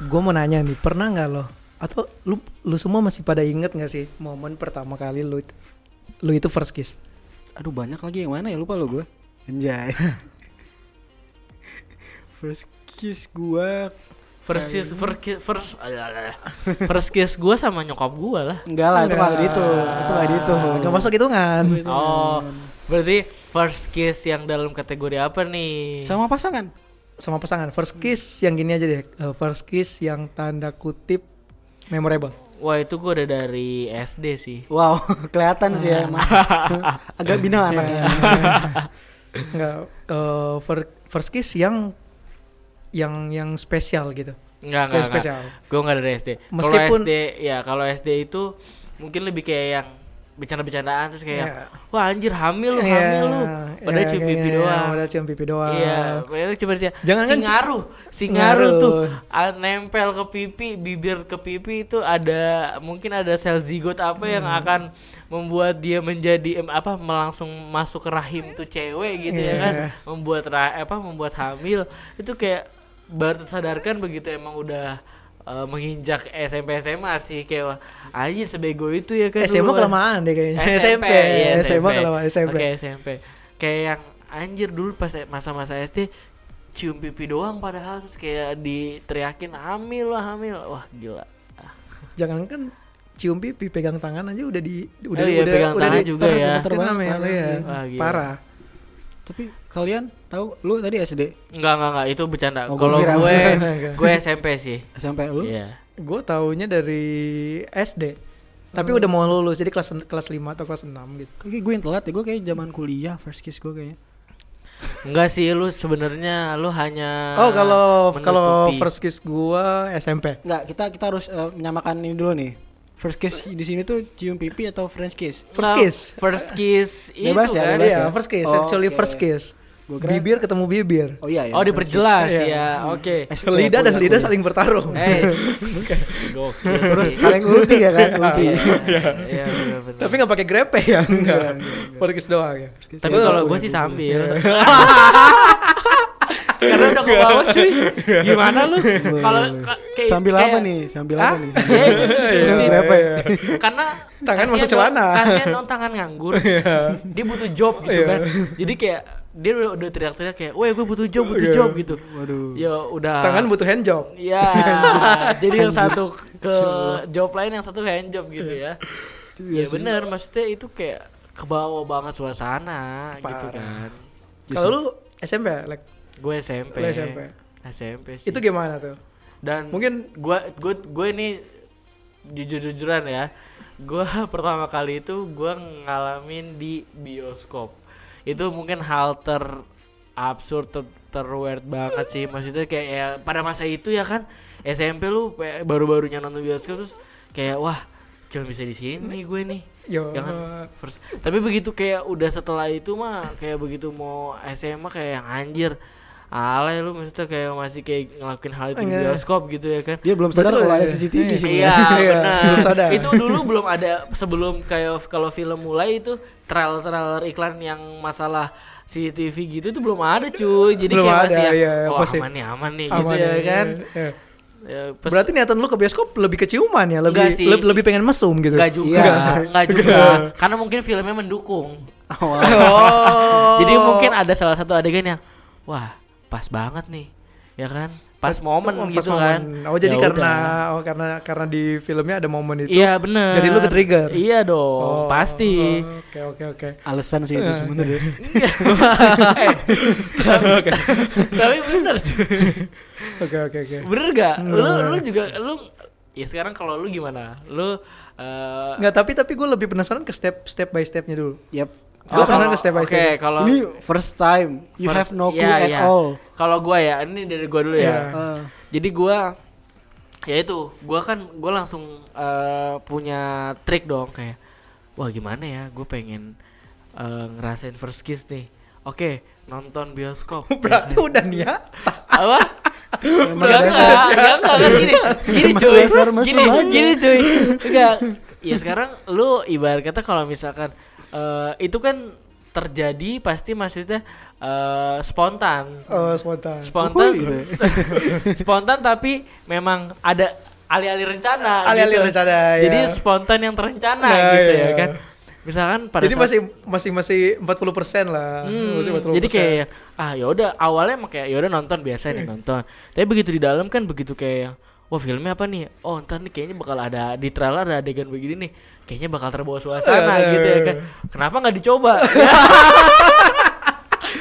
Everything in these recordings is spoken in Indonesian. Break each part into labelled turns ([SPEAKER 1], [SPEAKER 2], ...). [SPEAKER 1] gue mau nanya nih pernah nggak lo atau lu lu semua masih pada inget nggak sih momen pertama kali lu itu- lu itu first kiss
[SPEAKER 2] Aduh banyak lagi yang mana ya lupa lo gue Anjay First kiss gue
[SPEAKER 3] First
[SPEAKER 1] Iya,
[SPEAKER 3] kiss, first kiss, first, first kiss gue sama nyokap gue lah.
[SPEAKER 2] Enggak lah itu gak dihitung Itu gitu. gak dihitung
[SPEAKER 1] Ah, nggak masuk hitungan
[SPEAKER 3] Oh,
[SPEAKER 1] Iya.
[SPEAKER 3] berarti first kiss yang dalam kategori apa nih?
[SPEAKER 2] Sama pasangan
[SPEAKER 1] sama pasangan first kiss yang gini aja deh eh, first kiss yang tanda kutip memorable
[SPEAKER 3] Wah itu gue udah dari SD sih.
[SPEAKER 2] Wow kelihatan sih ya emang Agak binal
[SPEAKER 1] Iya.
[SPEAKER 2] anaknya
[SPEAKER 1] nggak eh, fir- first kiss yang yang yang spesial gitu
[SPEAKER 3] Enggak
[SPEAKER 1] yang
[SPEAKER 3] enggak. enggak.
[SPEAKER 1] spesial
[SPEAKER 3] Gue enggak dari SD. kalau
[SPEAKER 1] Meskipun-
[SPEAKER 3] SD ya kalau SD itu mungkin lebih kayak yang bercanda-bercandaan terus kayak
[SPEAKER 1] Iya.
[SPEAKER 3] wah anjir hamil lu,
[SPEAKER 1] Iya,
[SPEAKER 3] hamil lu. Padahal
[SPEAKER 1] iya,
[SPEAKER 3] cium
[SPEAKER 1] kayaknya,
[SPEAKER 3] pipi
[SPEAKER 1] iya,
[SPEAKER 3] doang.
[SPEAKER 1] padahal cium pipi doang
[SPEAKER 3] Iya, padahal cuma dia
[SPEAKER 1] Jangan kan-
[SPEAKER 3] singaru, singaru
[SPEAKER 1] Ngaruh.
[SPEAKER 3] tuh ah, nempel ke pipi, bibir ke pipi itu ada mungkin ada sel zigot apa yang
[SPEAKER 1] Hmm.
[SPEAKER 3] akan membuat dia menjadi em, apa melangsung masuk ke rahim tuh cewek gitu ya
[SPEAKER 1] Iya.
[SPEAKER 3] kan, membuat ra, apa membuat hamil itu kayak baru tersadarkan begitu emang udah eh, menginjak SMP SMA sih kayak wah, anjir sebego itu ya kan
[SPEAKER 1] SMA
[SPEAKER 3] dulu.
[SPEAKER 1] kelamaan deh kayaknya SMP
[SPEAKER 3] iya,
[SPEAKER 1] SMA kelamaan SMP
[SPEAKER 3] Oke SMP. Kayak yang anjir dulu pas masa-masa SD cium pipi doang padahal terus kayak diteriakin hamil lah hamil. Wah gila.
[SPEAKER 1] jangan kan cium pipi pegang tangan aja udah di udah
[SPEAKER 3] Oh iya,
[SPEAKER 1] udah
[SPEAKER 3] pegang
[SPEAKER 1] udah
[SPEAKER 3] tangan
[SPEAKER 1] di-
[SPEAKER 3] juga ya.
[SPEAKER 1] geter banget
[SPEAKER 2] Kenapa
[SPEAKER 1] malah ya.
[SPEAKER 3] Wah, gila.
[SPEAKER 1] parah
[SPEAKER 2] Tapi kalian tahu lu tadi SD
[SPEAKER 3] Enggak enggak enggak itu bercanda.
[SPEAKER 2] Oh, gua
[SPEAKER 3] Kalau
[SPEAKER 2] kira-
[SPEAKER 3] gue gue SMP sih.
[SPEAKER 2] SMP lu
[SPEAKER 3] Iya.
[SPEAKER 1] gue taunya dari SD tapi
[SPEAKER 3] Hmm.
[SPEAKER 1] udah mau lulus jadi kelas kelas 5 atau kelas 6 gitu
[SPEAKER 2] Kayak gue yang telat ya, gue kayak zaman kuliah first kiss gue kayaknya
[SPEAKER 3] Enggak sih lu sebenarnya lu hanya
[SPEAKER 1] oh kalau kalau
[SPEAKER 3] Ah, menutupi.
[SPEAKER 1] first kiss gue SMP
[SPEAKER 2] Enggak, kita kita harus eh, menyamakan ini dulu nih First kiss di sini tuh cium pipi atau French kiss?
[SPEAKER 1] first
[SPEAKER 3] Nah,
[SPEAKER 1] kiss
[SPEAKER 3] First kiss itu
[SPEAKER 2] Bebas ya,
[SPEAKER 3] kan.
[SPEAKER 2] bebas.
[SPEAKER 1] iya first kiss
[SPEAKER 2] Oke.
[SPEAKER 1] actually first kiss
[SPEAKER 2] Gua kira-
[SPEAKER 1] bibir ketemu bibir
[SPEAKER 2] Oh iya ya.
[SPEAKER 3] Oh diperjelas
[SPEAKER 1] Iya.
[SPEAKER 3] ya. Oke.
[SPEAKER 2] Eh, iya,
[SPEAKER 1] lidah dan lidah
[SPEAKER 2] kuliah, kuliah.
[SPEAKER 1] saling bertarung
[SPEAKER 3] Eh. Gokil.
[SPEAKER 2] Terus
[SPEAKER 3] sih.
[SPEAKER 2] saling ulti ya kan, ulti.
[SPEAKER 3] Iya, Iya benar-benar.
[SPEAKER 1] tapi nggak pakai grepe ya enggak first kiss doang ya
[SPEAKER 3] Tapi
[SPEAKER 1] Iya,
[SPEAKER 3] kalau gue sih sambil. Karena udah ke bawah cuy. Gimana lu?
[SPEAKER 1] Iya.
[SPEAKER 3] Kalau ka- kayak
[SPEAKER 2] Iya. Sambil
[SPEAKER 3] kayak-
[SPEAKER 2] apa nih? Sambil apa
[SPEAKER 3] Hah?
[SPEAKER 2] nih?
[SPEAKER 3] Iya,
[SPEAKER 2] Sambil-
[SPEAKER 3] gitu.
[SPEAKER 2] Sambil apa
[SPEAKER 1] iya.
[SPEAKER 2] ya?
[SPEAKER 3] Karena
[SPEAKER 1] Tangan
[SPEAKER 3] kasihan
[SPEAKER 1] masuk
[SPEAKER 3] dong-
[SPEAKER 1] celana.
[SPEAKER 3] Kasihan dong tangan nganggur. Dia butuh job gitu
[SPEAKER 1] Iya.
[SPEAKER 3] kan. Jadi kayak dia udah, udah teriak-teriak kayak, "Weh, gue butuh job, butuh job" gitu.
[SPEAKER 2] Waduh.
[SPEAKER 3] Ya udah.
[SPEAKER 1] Iya. tangan butuh hand job
[SPEAKER 3] Ya, jadi yang satu ke job lain, yang satu hand job gitu
[SPEAKER 1] Iya.
[SPEAKER 3] ya.
[SPEAKER 2] Iya
[SPEAKER 3] Ya bener, maksudnya itu kayak kebawa banget suasana gitu kan.
[SPEAKER 2] Iya
[SPEAKER 1] kalau lu SMP like,
[SPEAKER 3] Gue
[SPEAKER 1] Lu
[SPEAKER 3] SMP.
[SPEAKER 1] SMP.
[SPEAKER 3] SMP sih.
[SPEAKER 1] itu gimana tuh
[SPEAKER 3] Dan
[SPEAKER 1] mungkin-
[SPEAKER 3] gue gue gue ini jujur-jujuran ya. Gue pertama kali itu gue ngalamin di bioskop. Itu mungkin hal ter absurd ter, ter weird banget sih. Maksudnya kayak ya, pada masa itu ya kan SMP lu kayak baru-barunya nonton bioskop terus kayak wah cuma bisa di sini gue nih.
[SPEAKER 1] yo eh,
[SPEAKER 3] Ya kan? First. Tapi begitu kayak udah setelah itu mah kayak begitu mau SMA kayak yang anjir. Alay lu maksudnya kayak masih kayak ngelakuin hal itu di
[SPEAKER 1] Enggak.
[SPEAKER 3] bioskop gitu ya kan.
[SPEAKER 2] Dia belum sadar
[SPEAKER 1] Betul,
[SPEAKER 2] kalau ada
[SPEAKER 1] iya.
[SPEAKER 2] CCTV sih.
[SPEAKER 3] Iya,
[SPEAKER 1] Iya, belum sadar.
[SPEAKER 3] benar. itu dulu belum ada sebelum kayak kalau film mulai itu trailer-trailer iklan yang masalah CCTV gitu itu belum ada cuy. Jadi
[SPEAKER 1] Belum
[SPEAKER 3] kayak
[SPEAKER 1] ada,
[SPEAKER 3] masih yang,
[SPEAKER 1] iya,
[SPEAKER 3] oh
[SPEAKER 1] pasti.
[SPEAKER 3] aman nih, aman nih
[SPEAKER 1] Aman,
[SPEAKER 3] gitu ya
[SPEAKER 1] iya,
[SPEAKER 3] kan.
[SPEAKER 1] iya.
[SPEAKER 3] Ya, pes-
[SPEAKER 1] Berarti niatan lu ke bioskop lebih keciuman ya, lebih
[SPEAKER 3] Enggak sih.
[SPEAKER 1] leb- lebih pengen mesum gitu.
[SPEAKER 3] Enggak juga,
[SPEAKER 2] Iya.
[SPEAKER 3] enggak juga. Karena mungkin filmnya mendukung.
[SPEAKER 2] Awal.
[SPEAKER 1] Oh.
[SPEAKER 3] Jadi mungkin ada salah satu adegan yang wah pas banget nih, ya kan? Pas momen
[SPEAKER 1] Oh, pas
[SPEAKER 3] gitu
[SPEAKER 1] momen.
[SPEAKER 3] kan?
[SPEAKER 1] Oh, jadi
[SPEAKER 3] Ya
[SPEAKER 1] karena
[SPEAKER 3] udah.
[SPEAKER 1] oh karena karena di filmnya ada momen itu.
[SPEAKER 3] Iya bener.
[SPEAKER 1] Jadi lu ke-trigger?
[SPEAKER 3] Iya
[SPEAKER 1] Oh,
[SPEAKER 3] dong, pasti.
[SPEAKER 1] Oke, oke, oke.
[SPEAKER 2] Alasan sih itu sebenarnya.
[SPEAKER 3] Eh, tapi- Tapi bener cuy.
[SPEAKER 1] Oke, oke, oke.
[SPEAKER 3] Bener gak? Lu
[SPEAKER 1] Bener.
[SPEAKER 3] lu juga lu ya sekarang kalau lu gimana? Lu eh,
[SPEAKER 1] Enggak, tapi tapi gue lebih penasaran ke step step by stepnya dulu.
[SPEAKER 2] Yap.
[SPEAKER 1] Gua
[SPEAKER 3] oh, kalau-
[SPEAKER 1] penasaran ke step by
[SPEAKER 3] Oke,
[SPEAKER 1] step.
[SPEAKER 3] kalau
[SPEAKER 2] kan- Ini first time. You
[SPEAKER 3] first-
[SPEAKER 2] have no clue
[SPEAKER 3] iya,
[SPEAKER 2] at
[SPEAKER 3] iya.
[SPEAKER 2] all.
[SPEAKER 3] Kalau gua ya, ini dari gua dulu
[SPEAKER 1] Iya.
[SPEAKER 3] ya.
[SPEAKER 2] Eh,
[SPEAKER 3] Jadi gua ya itu, gua kan gua langsung eh, punya trik dong kayak wah gimana ya, gue pengen eh, ngerasain first kiss nih. Oke, nonton bioskop. ya
[SPEAKER 1] Berarti
[SPEAKER 3] kan?
[SPEAKER 1] udah nih ya.
[SPEAKER 3] apa?
[SPEAKER 2] Emang dasar.
[SPEAKER 3] Enggak, enggak, enggak, enggak, kan gini, gini
[SPEAKER 2] Emang
[SPEAKER 3] cuy,
[SPEAKER 2] dasar mesum
[SPEAKER 3] gini,
[SPEAKER 2] aja.
[SPEAKER 3] gini cuy, Iya, enggak. Ya sekarang lu ibarat kata kalau misalkan eh, itu kan terjadi pasti maksudnya eh, spontan
[SPEAKER 1] Oh, iya. spontan.
[SPEAKER 3] spontan
[SPEAKER 2] Uhuy, gitu ya.
[SPEAKER 3] spontan tapi memang ada alih-alih rencana gitu.
[SPEAKER 1] Alih-alih rencana, ya.
[SPEAKER 3] jadi spontan yang terencana
[SPEAKER 1] Nah,
[SPEAKER 3] gitu
[SPEAKER 1] iya.
[SPEAKER 3] ya kan misalkan pada
[SPEAKER 1] Jadi
[SPEAKER 3] saat-
[SPEAKER 1] masih masih masih 40% lah.
[SPEAKER 3] Hmm,
[SPEAKER 1] Masih 40%.
[SPEAKER 3] jadi kayak ah ya udah awalnya emang kayak ya udah nonton biasa
[SPEAKER 1] Hmm.
[SPEAKER 3] nih nonton tapi begitu di dalam kan begitu kayak wah filmnya apa nih oh ntar nih kayaknya bakal ada di trailer ada adegan begini nih kayaknya bakal terbawa suasana
[SPEAKER 1] Eh.
[SPEAKER 3] gitu ya kan kenapa nggak dicoba Ya.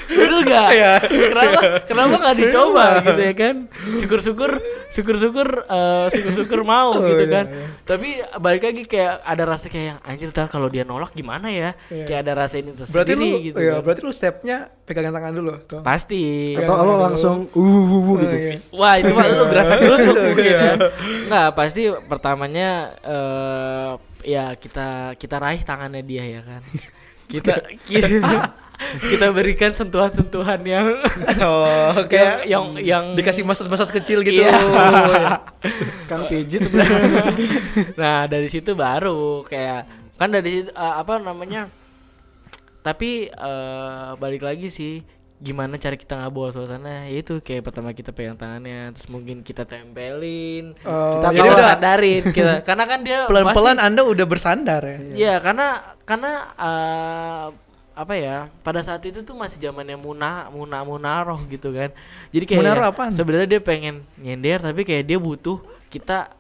[SPEAKER 3] Betul gak?
[SPEAKER 1] Iya.
[SPEAKER 3] Kenapa kenapa nggak dicoba gitu ya kan? Syukur-syukur syukur-syukur eh, syukur-syukur mau
[SPEAKER 1] Oh,
[SPEAKER 3] gitu
[SPEAKER 1] iya,
[SPEAKER 3] kan.
[SPEAKER 1] iya.
[SPEAKER 3] Tapi balik lagi kayak ada rasa kayak yang anjir ntar kalau dia nolak gimana ya?
[SPEAKER 1] Iya.
[SPEAKER 3] Kayak ada rasa ini tersendiri
[SPEAKER 1] berarti lu
[SPEAKER 3] gitu.
[SPEAKER 1] iya,
[SPEAKER 3] kan.
[SPEAKER 1] berarti lu stepnya pegangan tangan dulu tuh.
[SPEAKER 3] Pasti.
[SPEAKER 1] Iya.
[SPEAKER 2] atau lo langsung uh uh, uh, gitu
[SPEAKER 1] Oh, iya.
[SPEAKER 3] Wah itu mah lu gerasa gerusuk mungkin
[SPEAKER 1] Iya.
[SPEAKER 3] ya. Enggak pasti pertamanya eh ya kita kita raih tangannya dia ya kan. Kita kita, kita berikan sentuhan-sentuhan yang
[SPEAKER 1] oh,
[SPEAKER 3] yang,
[SPEAKER 1] kayak
[SPEAKER 3] yang yang
[SPEAKER 1] dikasih masas-masas kecil gitu.
[SPEAKER 3] Iya.
[SPEAKER 2] kang pijit bener.
[SPEAKER 3] nah dari situ baru kayak kan dari situ, eh, apa namanya tapi eh balik lagi sih gimana cara kita nggak bawa suasana yaitu kayak pertama kita pegang tangannya terus mungkin kita tempelin
[SPEAKER 1] Oh,
[SPEAKER 3] kita
[SPEAKER 1] jadi
[SPEAKER 3] bawa
[SPEAKER 1] udah
[SPEAKER 3] sandarin kita karena kan dia
[SPEAKER 1] pelan-pelan Anda udah bersandar ya.
[SPEAKER 3] pasti- ya karena karena eh, apa ya pada saat itu tuh masih zamannya muna muna munaroh gitu kan jadi kayak
[SPEAKER 1] Munaroh
[SPEAKER 3] ya,
[SPEAKER 1] apaan?
[SPEAKER 3] sebenarnya dia pengen nyender tapi kayak dia butuh kita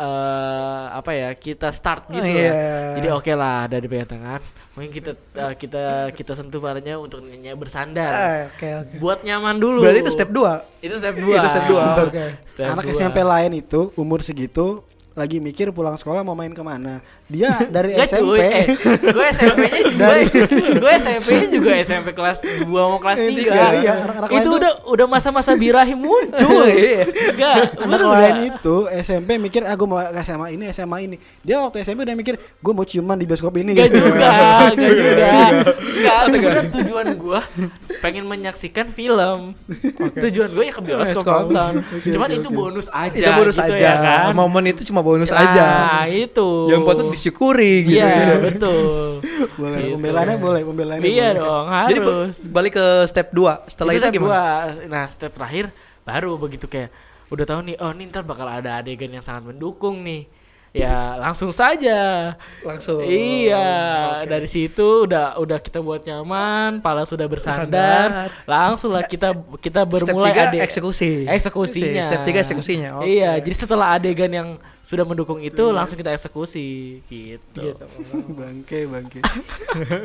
[SPEAKER 3] eh apa ya kita start gitu
[SPEAKER 1] Iya.
[SPEAKER 3] ya jadi oke lah dari pegang tangan mungkin kita eh, kita kita sentuh paranya untuk nyanyi bersandar
[SPEAKER 1] Ah, Oke, oke.
[SPEAKER 3] buat nyaman dulu
[SPEAKER 1] Berarti itu step 2.
[SPEAKER 3] itu step dua
[SPEAKER 1] Itu step dua,
[SPEAKER 3] Betul.
[SPEAKER 1] oke.
[SPEAKER 3] Step
[SPEAKER 2] anak
[SPEAKER 3] dua.
[SPEAKER 2] SMP lain itu umur segitu lagi mikir pulang sekolah mau main kemana dia dari
[SPEAKER 3] Nggak,
[SPEAKER 2] SMP
[SPEAKER 3] cuy. Eh, gue SMP-nya juga gue SMP-nya juga SMP kelas 2 mau kelas 3.
[SPEAKER 1] Tiga,
[SPEAKER 2] iya, anak-anak lain
[SPEAKER 3] itu
[SPEAKER 2] tuh-
[SPEAKER 3] udah udah masa-masa birahi muncul.
[SPEAKER 1] Iya.
[SPEAKER 3] Enggak,
[SPEAKER 2] anak lain itu SMP mikir ah gue mau ke SMA ini SMA ini dia waktu SMP udah mikir gue mau ciuman di bioskop ini
[SPEAKER 3] Enggak juga,
[SPEAKER 1] Iya.
[SPEAKER 3] enggak juga. Enggak, sebenarnya tujuan gue pengen menyaksikan film. Tujuan gue ya ke bioskop
[SPEAKER 1] Bioskop.
[SPEAKER 3] nonton.
[SPEAKER 1] Iya, Oke,
[SPEAKER 3] Cuman
[SPEAKER 1] oke,
[SPEAKER 3] itu
[SPEAKER 1] oke.
[SPEAKER 3] bonus aja
[SPEAKER 1] itu bonus
[SPEAKER 3] gitu
[SPEAKER 1] aja.
[SPEAKER 3] ya kan.
[SPEAKER 1] Momen itu cuma bonus
[SPEAKER 3] Nah,
[SPEAKER 1] aja.
[SPEAKER 3] itu.
[SPEAKER 1] Yang penting disyukuri gitu.
[SPEAKER 3] Iya, betul.
[SPEAKER 2] boleh
[SPEAKER 3] Gitu.
[SPEAKER 2] pembelaannya boleh pembelaannya
[SPEAKER 3] Iya
[SPEAKER 2] boleh.
[SPEAKER 3] dong,
[SPEAKER 1] Jadi be-
[SPEAKER 3] harus.
[SPEAKER 1] balik ke step 2. Setelah itu,
[SPEAKER 3] step
[SPEAKER 1] gimana?
[SPEAKER 3] dua. Nah, step terakhir baru begitu kayak udah tahu nih, oh nih ntar bakal ada adegan yang sangat mendukung nih. Ya langsung saja.
[SPEAKER 1] Langsung.
[SPEAKER 3] Iya,
[SPEAKER 1] Oke.
[SPEAKER 3] dari situ udah udah kita buat nyaman, pala sudah bersandar, langsunglah kita kita bermulai
[SPEAKER 1] tiga,
[SPEAKER 3] ade-
[SPEAKER 1] eksekusi.
[SPEAKER 3] Eksekusinya.
[SPEAKER 1] Step tiga, eksekusinya. Oke. Iya.
[SPEAKER 3] Iya, jadi setelah adegan yang sudah mendukung itu langsung kita eksekusi gitu.
[SPEAKER 2] bangke bangke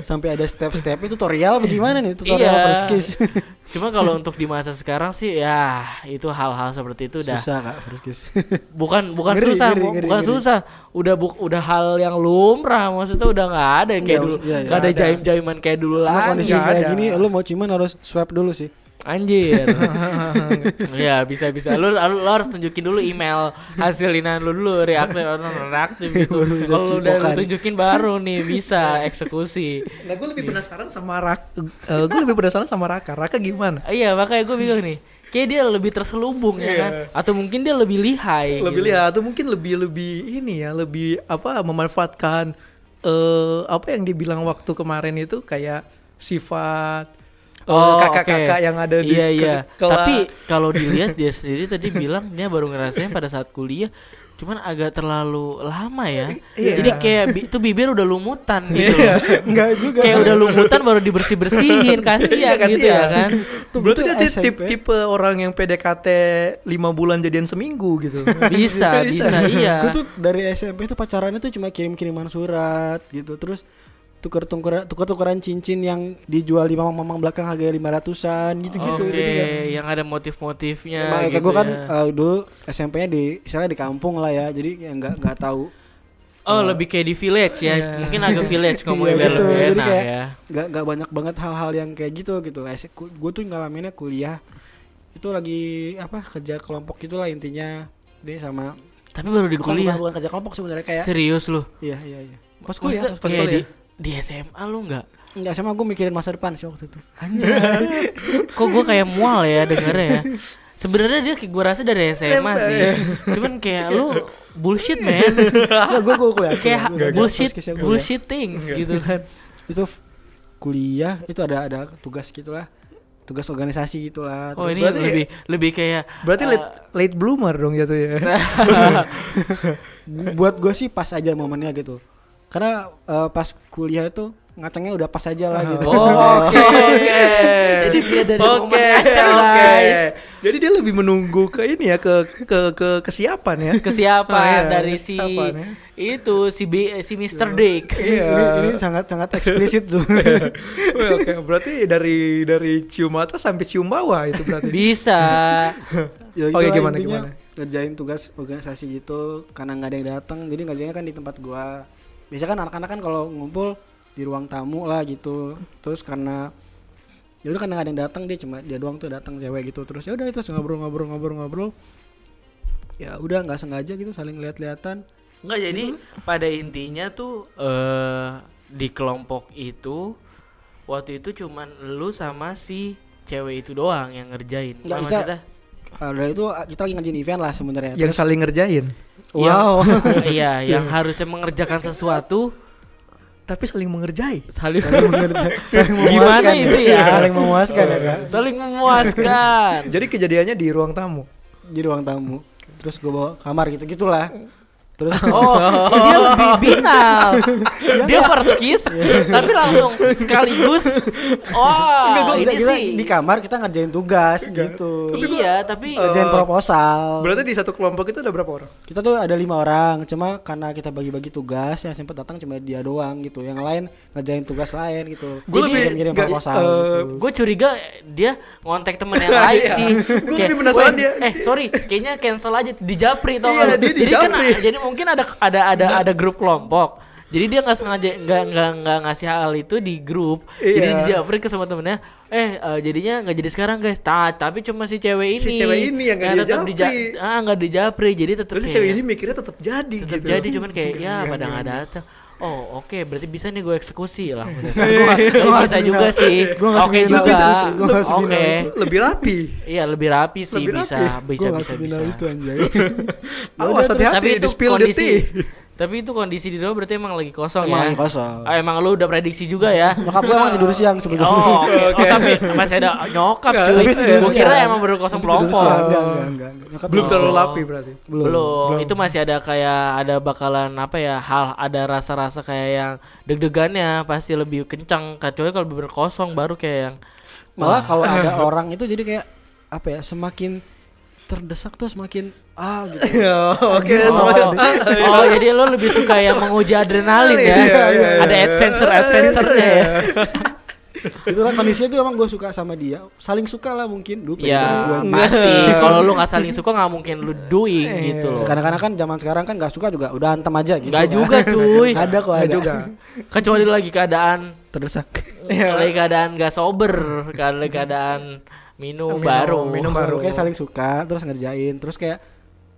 [SPEAKER 2] sampai ada step-step itu tutorial bagaimana nih tutorial
[SPEAKER 3] Iya.
[SPEAKER 2] first kiss
[SPEAKER 3] Cuma kalau untuk di masa sekarang sih ya itu hal-hal seperti itu udah
[SPEAKER 2] susah kak first kiss
[SPEAKER 3] bukan bukan
[SPEAKER 2] Ngeri,
[SPEAKER 3] susah
[SPEAKER 2] ngeri,
[SPEAKER 3] bu-
[SPEAKER 2] ngeri,
[SPEAKER 3] bukan
[SPEAKER 2] ngeri.
[SPEAKER 3] susah udah bu- udah hal yang lumrah maksudnya udah nggak ada kayak
[SPEAKER 2] Nggak,
[SPEAKER 3] dulu
[SPEAKER 2] iya, iya.
[SPEAKER 3] nggak ada
[SPEAKER 1] Nggak ada.
[SPEAKER 3] jaim jaiman kayak dulu
[SPEAKER 2] Karena
[SPEAKER 3] lagi
[SPEAKER 2] kondisi
[SPEAKER 1] nggak
[SPEAKER 2] kayak
[SPEAKER 1] ada.
[SPEAKER 2] gini lu mau ciuman harus swipe dulu sih
[SPEAKER 3] anjir ya bisa bisa lu, lu, lu harus tunjukin dulu email hasil linian lu dulu reaktif atau non reaktif gitu
[SPEAKER 2] Baru bisa
[SPEAKER 3] kalau lu udah lu
[SPEAKER 2] cipokan.
[SPEAKER 3] tunjukin baru nih bisa eksekusi
[SPEAKER 1] Nah, gue
[SPEAKER 3] Iya.
[SPEAKER 1] lebih penasaran sama Raka. gue lebih penasaran sama Raka. Raka gimana?
[SPEAKER 3] iya makanya gue bingung nih kayak dia lebih terselubung ya kan
[SPEAKER 1] Iya.
[SPEAKER 3] atau mungkin dia lebih lihai
[SPEAKER 1] lebih
[SPEAKER 3] gitu.
[SPEAKER 1] lihat atau mungkin lebih lebih ini ya, lebih apa memanfaatkan eh apa yang dibilang waktu kemarin itu kayak sifat eh,
[SPEAKER 3] Oh,
[SPEAKER 1] kakak-kakak
[SPEAKER 3] oke.
[SPEAKER 1] yang ada di
[SPEAKER 3] iya, iya.
[SPEAKER 1] ke- kelas.
[SPEAKER 3] Tapi kalau dilihat dia sendiri tadi bilang dia baru ngerasain pada saat kuliah, cuman agak terlalu lama ya.
[SPEAKER 1] Iya.
[SPEAKER 3] Jadi kayak bi- itu bibir udah lumutan gitu loh.
[SPEAKER 2] enggak juga
[SPEAKER 3] Kayak udah lumutan baru dibersih-bersihin, kasihan
[SPEAKER 1] Iya,
[SPEAKER 3] gitu ya
[SPEAKER 1] kasihan.
[SPEAKER 3] kan.
[SPEAKER 2] Tuh,
[SPEAKER 1] Berarti
[SPEAKER 2] itu
[SPEAKER 1] dia tipe,
[SPEAKER 2] SMP.
[SPEAKER 1] tipe orang yang PDKT 5 bulan jadian seminggu gitu.
[SPEAKER 3] Bisa, bisa, iya.
[SPEAKER 2] Gue tuh dari SMP tuh pacarannya tuh cuma kirim-kiriman surat gitu terus tuker tukeran tuker tukeran cincin yang dijual di mamang-mamang belakang harganya lima ratusan gitu-gitu gitu kan.
[SPEAKER 3] Oke,
[SPEAKER 2] jadi kayak
[SPEAKER 3] yang ada motif-motifnya
[SPEAKER 2] emang kayak
[SPEAKER 3] gitu
[SPEAKER 2] gue kan
[SPEAKER 3] ya.
[SPEAKER 2] eh, dulu SMP-nya di istilahnya di kampung lah ya jadi ya nggak nggak tahu
[SPEAKER 3] Oh, lebih kayak di village ya.
[SPEAKER 1] Iya.
[SPEAKER 3] Mungkin agak village ngomongnya
[SPEAKER 2] Iya,
[SPEAKER 3] biar
[SPEAKER 2] gitu.
[SPEAKER 3] lebih
[SPEAKER 2] Jadi
[SPEAKER 3] enak
[SPEAKER 2] kayak-
[SPEAKER 3] ya.
[SPEAKER 2] nggak nggak banyak banget hal-hal yang kayak gitu gitu gue tuh ngalaminnya kuliah itu lagi apa kerja kelompok gitulah intinya dia sama
[SPEAKER 3] Tapi baru di
[SPEAKER 2] bukan, ya.
[SPEAKER 3] kuliah.
[SPEAKER 2] bukan, bukan kerja kelompok sebenarnya kayak
[SPEAKER 3] Serius lu.
[SPEAKER 2] iya iya iya pas
[SPEAKER 3] Maksudnya
[SPEAKER 2] kuliah pas
[SPEAKER 3] kayak
[SPEAKER 2] kuliah
[SPEAKER 3] di di SMA lu nggak
[SPEAKER 2] nggak sama gue mikirin masa depan sih waktu itu
[SPEAKER 3] kok gue kayak mual ya dengernya ya sebenarnya dia gue rasa dari SMA sih
[SPEAKER 2] iya.
[SPEAKER 3] cuman kayak lu bullshit man
[SPEAKER 2] Enggak, gue gue kuliah. Gua- ya.
[SPEAKER 3] kayak
[SPEAKER 2] gua- gua first
[SPEAKER 3] bullshit
[SPEAKER 2] case-nya gua
[SPEAKER 3] bullshit things gitu kan
[SPEAKER 2] kuliah. Itu f- kuliah itu ada ada tugas gitulah tugas organisasi gitulah
[SPEAKER 3] Oh ini
[SPEAKER 1] Berarti-
[SPEAKER 3] lebih lebih kayak
[SPEAKER 1] Berarti
[SPEAKER 3] eh, Nah,
[SPEAKER 1] late, late bloomer dong gitu ya? jatuhnya.
[SPEAKER 2] Gu- buat gue sih pas aja momennya gitu karena eh, pas kuliah itu ngacengnya udah pas aja lah gitu
[SPEAKER 3] Oh, oke. Jadi dia dari
[SPEAKER 1] Oke,
[SPEAKER 3] oke,
[SPEAKER 1] oke.
[SPEAKER 3] guys.
[SPEAKER 1] Jadi dia lebih menunggu ke ini ya ke ke ke kesiapan ya.
[SPEAKER 2] Oh,
[SPEAKER 3] Kesiapan
[SPEAKER 1] Ah, iya,
[SPEAKER 3] dari si
[SPEAKER 1] kesiapan ya.
[SPEAKER 3] itu si B, si Mr.
[SPEAKER 2] Iya.
[SPEAKER 3] Dick.
[SPEAKER 2] ini, ini ini sangat sangat eksplisit sebenarnya.
[SPEAKER 1] Wah, iya. Oke, berarti dari dari cium atas sampai cium bawah itu berarti.
[SPEAKER 3] Bisa.
[SPEAKER 2] ya
[SPEAKER 1] Oke,
[SPEAKER 2] itulah
[SPEAKER 1] gimana,
[SPEAKER 2] intinya
[SPEAKER 1] gimana?
[SPEAKER 2] ngerjain tugas organisasi gitu karena nggak ada yang datang jadi ngerjainnya kan di tempat gua biasanya kan anak-anak kan kalau ngumpul di ruang tamu lah gitu terus karena ya udah karena nggak ada yang datang dia cuma dia doang tuh datang cewek gitu terus ya udah terus ngobrol-ngobrol-ngobrol-ngobrol ya udah nggak sengaja gitu saling lihat-lihatan
[SPEAKER 3] Enggak jadi pada intinya tuh eh di kelompok itu waktu itu cuman lu sama si cewek itu doang yang ngerjain.
[SPEAKER 2] Enggak,
[SPEAKER 3] Sama
[SPEAKER 2] kita-
[SPEAKER 3] maksudnya-
[SPEAKER 2] Ah, udah itu ah, kita lagi ngajin event lah sebenarnya
[SPEAKER 1] Yang
[SPEAKER 2] Terus-
[SPEAKER 1] saling ngerjain,
[SPEAKER 2] wow
[SPEAKER 3] Iya, yang harusnya mengerjakan sesuatu
[SPEAKER 1] tapi saling mengerjai.
[SPEAKER 3] saling
[SPEAKER 2] saling mengerja- saling
[SPEAKER 3] Gimana
[SPEAKER 2] memuaskan
[SPEAKER 3] itu ya? kan?
[SPEAKER 2] saling memuaskan ya kak
[SPEAKER 3] saling memuaskan.
[SPEAKER 1] Jadi kejadiannya di ruang tamu.
[SPEAKER 2] di ruang tamu terus gue bawa kamar gitu gitulah terus
[SPEAKER 3] Oh, dia lebih binal. dia first kiss, tapi langsung sekaligus. Oh,
[SPEAKER 2] Enggak, gua-
[SPEAKER 3] ini
[SPEAKER 2] kita
[SPEAKER 3] sih.
[SPEAKER 2] di kamar kita ngerjain tugas gitu
[SPEAKER 3] iya, tapi
[SPEAKER 2] ngerjain proposal
[SPEAKER 1] Berarti di satu kelompok itu ada berapa orang?
[SPEAKER 2] kita tuh ada lima orang cuma karena kita bagi-bagi tugas yang sempat datang cuma dia doang gitu yang lain ngerjain tugas lain gitu
[SPEAKER 1] Gua lebih-
[SPEAKER 2] Jadi, ngirim-ngirim
[SPEAKER 1] nggak,
[SPEAKER 2] proposal
[SPEAKER 1] eh,
[SPEAKER 2] gitu.
[SPEAKER 3] gue curiga dia ngontek temen yang lain
[SPEAKER 1] Iya.
[SPEAKER 3] sih.
[SPEAKER 1] Gua
[SPEAKER 3] Kayak,
[SPEAKER 1] lebih penasaran
[SPEAKER 3] "Weh,
[SPEAKER 1] dia-
[SPEAKER 3] Eh, sorry, kayaknya cancel aja di Japri tau
[SPEAKER 1] Iya,
[SPEAKER 3] nggak lu?"
[SPEAKER 1] dia di
[SPEAKER 3] jadi kan-
[SPEAKER 1] Japri. Iya.
[SPEAKER 3] jadi mungkin ada ada ada ada grup kelompok. Jadi dia nggak sengaja nggak nggak nggak ngasih hal itu di grup. Jadi
[SPEAKER 1] Iya.
[SPEAKER 3] di Japri ke sama temennya, eh eh, jadinya nggak jadi sekarang guys. Ta, tapi cuma si cewek ini.
[SPEAKER 1] Si cewek ini yang nggak
[SPEAKER 3] Nah,
[SPEAKER 1] dia
[SPEAKER 3] tetap di Ja-
[SPEAKER 1] Japri.
[SPEAKER 3] ah nggak di Japri. Jadi tetap
[SPEAKER 1] Berarti
[SPEAKER 3] kayak-
[SPEAKER 1] cewek ini mikirnya tetap jadi
[SPEAKER 3] tetap
[SPEAKER 1] gitu. iya,
[SPEAKER 3] jadi cuman kayak ya pada nggak datang. Oh oke berarti bisa nih gue eksekusi langsung.
[SPEAKER 1] Iya,
[SPEAKER 3] Eh,
[SPEAKER 2] gua
[SPEAKER 3] bisa
[SPEAKER 2] nggak
[SPEAKER 3] juga
[SPEAKER 2] seminal.
[SPEAKER 3] sih.
[SPEAKER 2] Gua nggak
[SPEAKER 3] Oke
[SPEAKER 2] seminal
[SPEAKER 3] juga.
[SPEAKER 2] itu, gua nggak seminal
[SPEAKER 3] Oke.
[SPEAKER 2] itu.
[SPEAKER 1] lebih rapi.
[SPEAKER 3] Iya lebih rapi sih
[SPEAKER 1] Lebih
[SPEAKER 3] bisa,
[SPEAKER 1] rapi.
[SPEAKER 2] Gua
[SPEAKER 3] bisa
[SPEAKER 2] nggak
[SPEAKER 3] bisa bisa.
[SPEAKER 2] seminal itu anjay Oh,
[SPEAKER 1] Awas hati-hati Ya di spill the tea.
[SPEAKER 3] tapi itu kondisi di rumah berarti emang lagi kosong
[SPEAKER 2] Emang
[SPEAKER 3] ya.
[SPEAKER 2] lagi kosong.
[SPEAKER 3] Ah, emang lu udah prediksi juga ya.
[SPEAKER 2] nyokap gue emang tidur siang sebetulnya
[SPEAKER 3] Oh, oke.
[SPEAKER 1] Oke.
[SPEAKER 3] Oh, tapi masih ada nyokap
[SPEAKER 1] Nggak,
[SPEAKER 3] cuy.
[SPEAKER 1] tapi tidur
[SPEAKER 3] Gue kira
[SPEAKER 2] siang.
[SPEAKER 3] emang baru kosong
[SPEAKER 2] Tidur siang.
[SPEAKER 3] kelompok.
[SPEAKER 2] enggak enggak enggak, enggak. Nyokap
[SPEAKER 1] Belum
[SPEAKER 2] tidur
[SPEAKER 1] terlalu
[SPEAKER 3] Oh.
[SPEAKER 1] lapi berarti.
[SPEAKER 2] Belum.
[SPEAKER 3] Belum. Itu masih ada kayak ada bakalan apa ya hal ada rasa-rasa kayak yang deg-degannya pasti lebih kencang. Kecuali kalau bener kosong baru kayak yang
[SPEAKER 2] malah kalau ada orang itu jadi kayak apa ya semakin terdesak tuh semakin ah gitu
[SPEAKER 1] Ya, Oke,
[SPEAKER 2] Oh.
[SPEAKER 1] sama-
[SPEAKER 3] Oh, oh, jadi lo lebih suka yang menguji adrenalin ya?
[SPEAKER 1] Iya, iya, iya.
[SPEAKER 3] Ada adventure adventure-nya ya.
[SPEAKER 2] itulah kondisinya tuh emang gue suka sama dia saling suka lah mungkin dulu
[SPEAKER 3] Ya
[SPEAKER 2] gue
[SPEAKER 3] pasti. Kalau lo nggak saling suka nggak mungkin lo doing gitu loh.
[SPEAKER 2] kadang-kadang kan zaman sekarang kan gak suka juga udah antem aja gitu
[SPEAKER 3] Nggak
[SPEAKER 2] kan.
[SPEAKER 3] juga cuy.
[SPEAKER 2] ada kok ada
[SPEAKER 1] Nggak juga.
[SPEAKER 3] Kecuali lo lagi keadaan,
[SPEAKER 2] terdesak
[SPEAKER 3] lagi keadaan gak sober, kan, lagi keadaan minum, baru.
[SPEAKER 1] minum baru.
[SPEAKER 2] kayak saling suka terus ngerjain terus kayak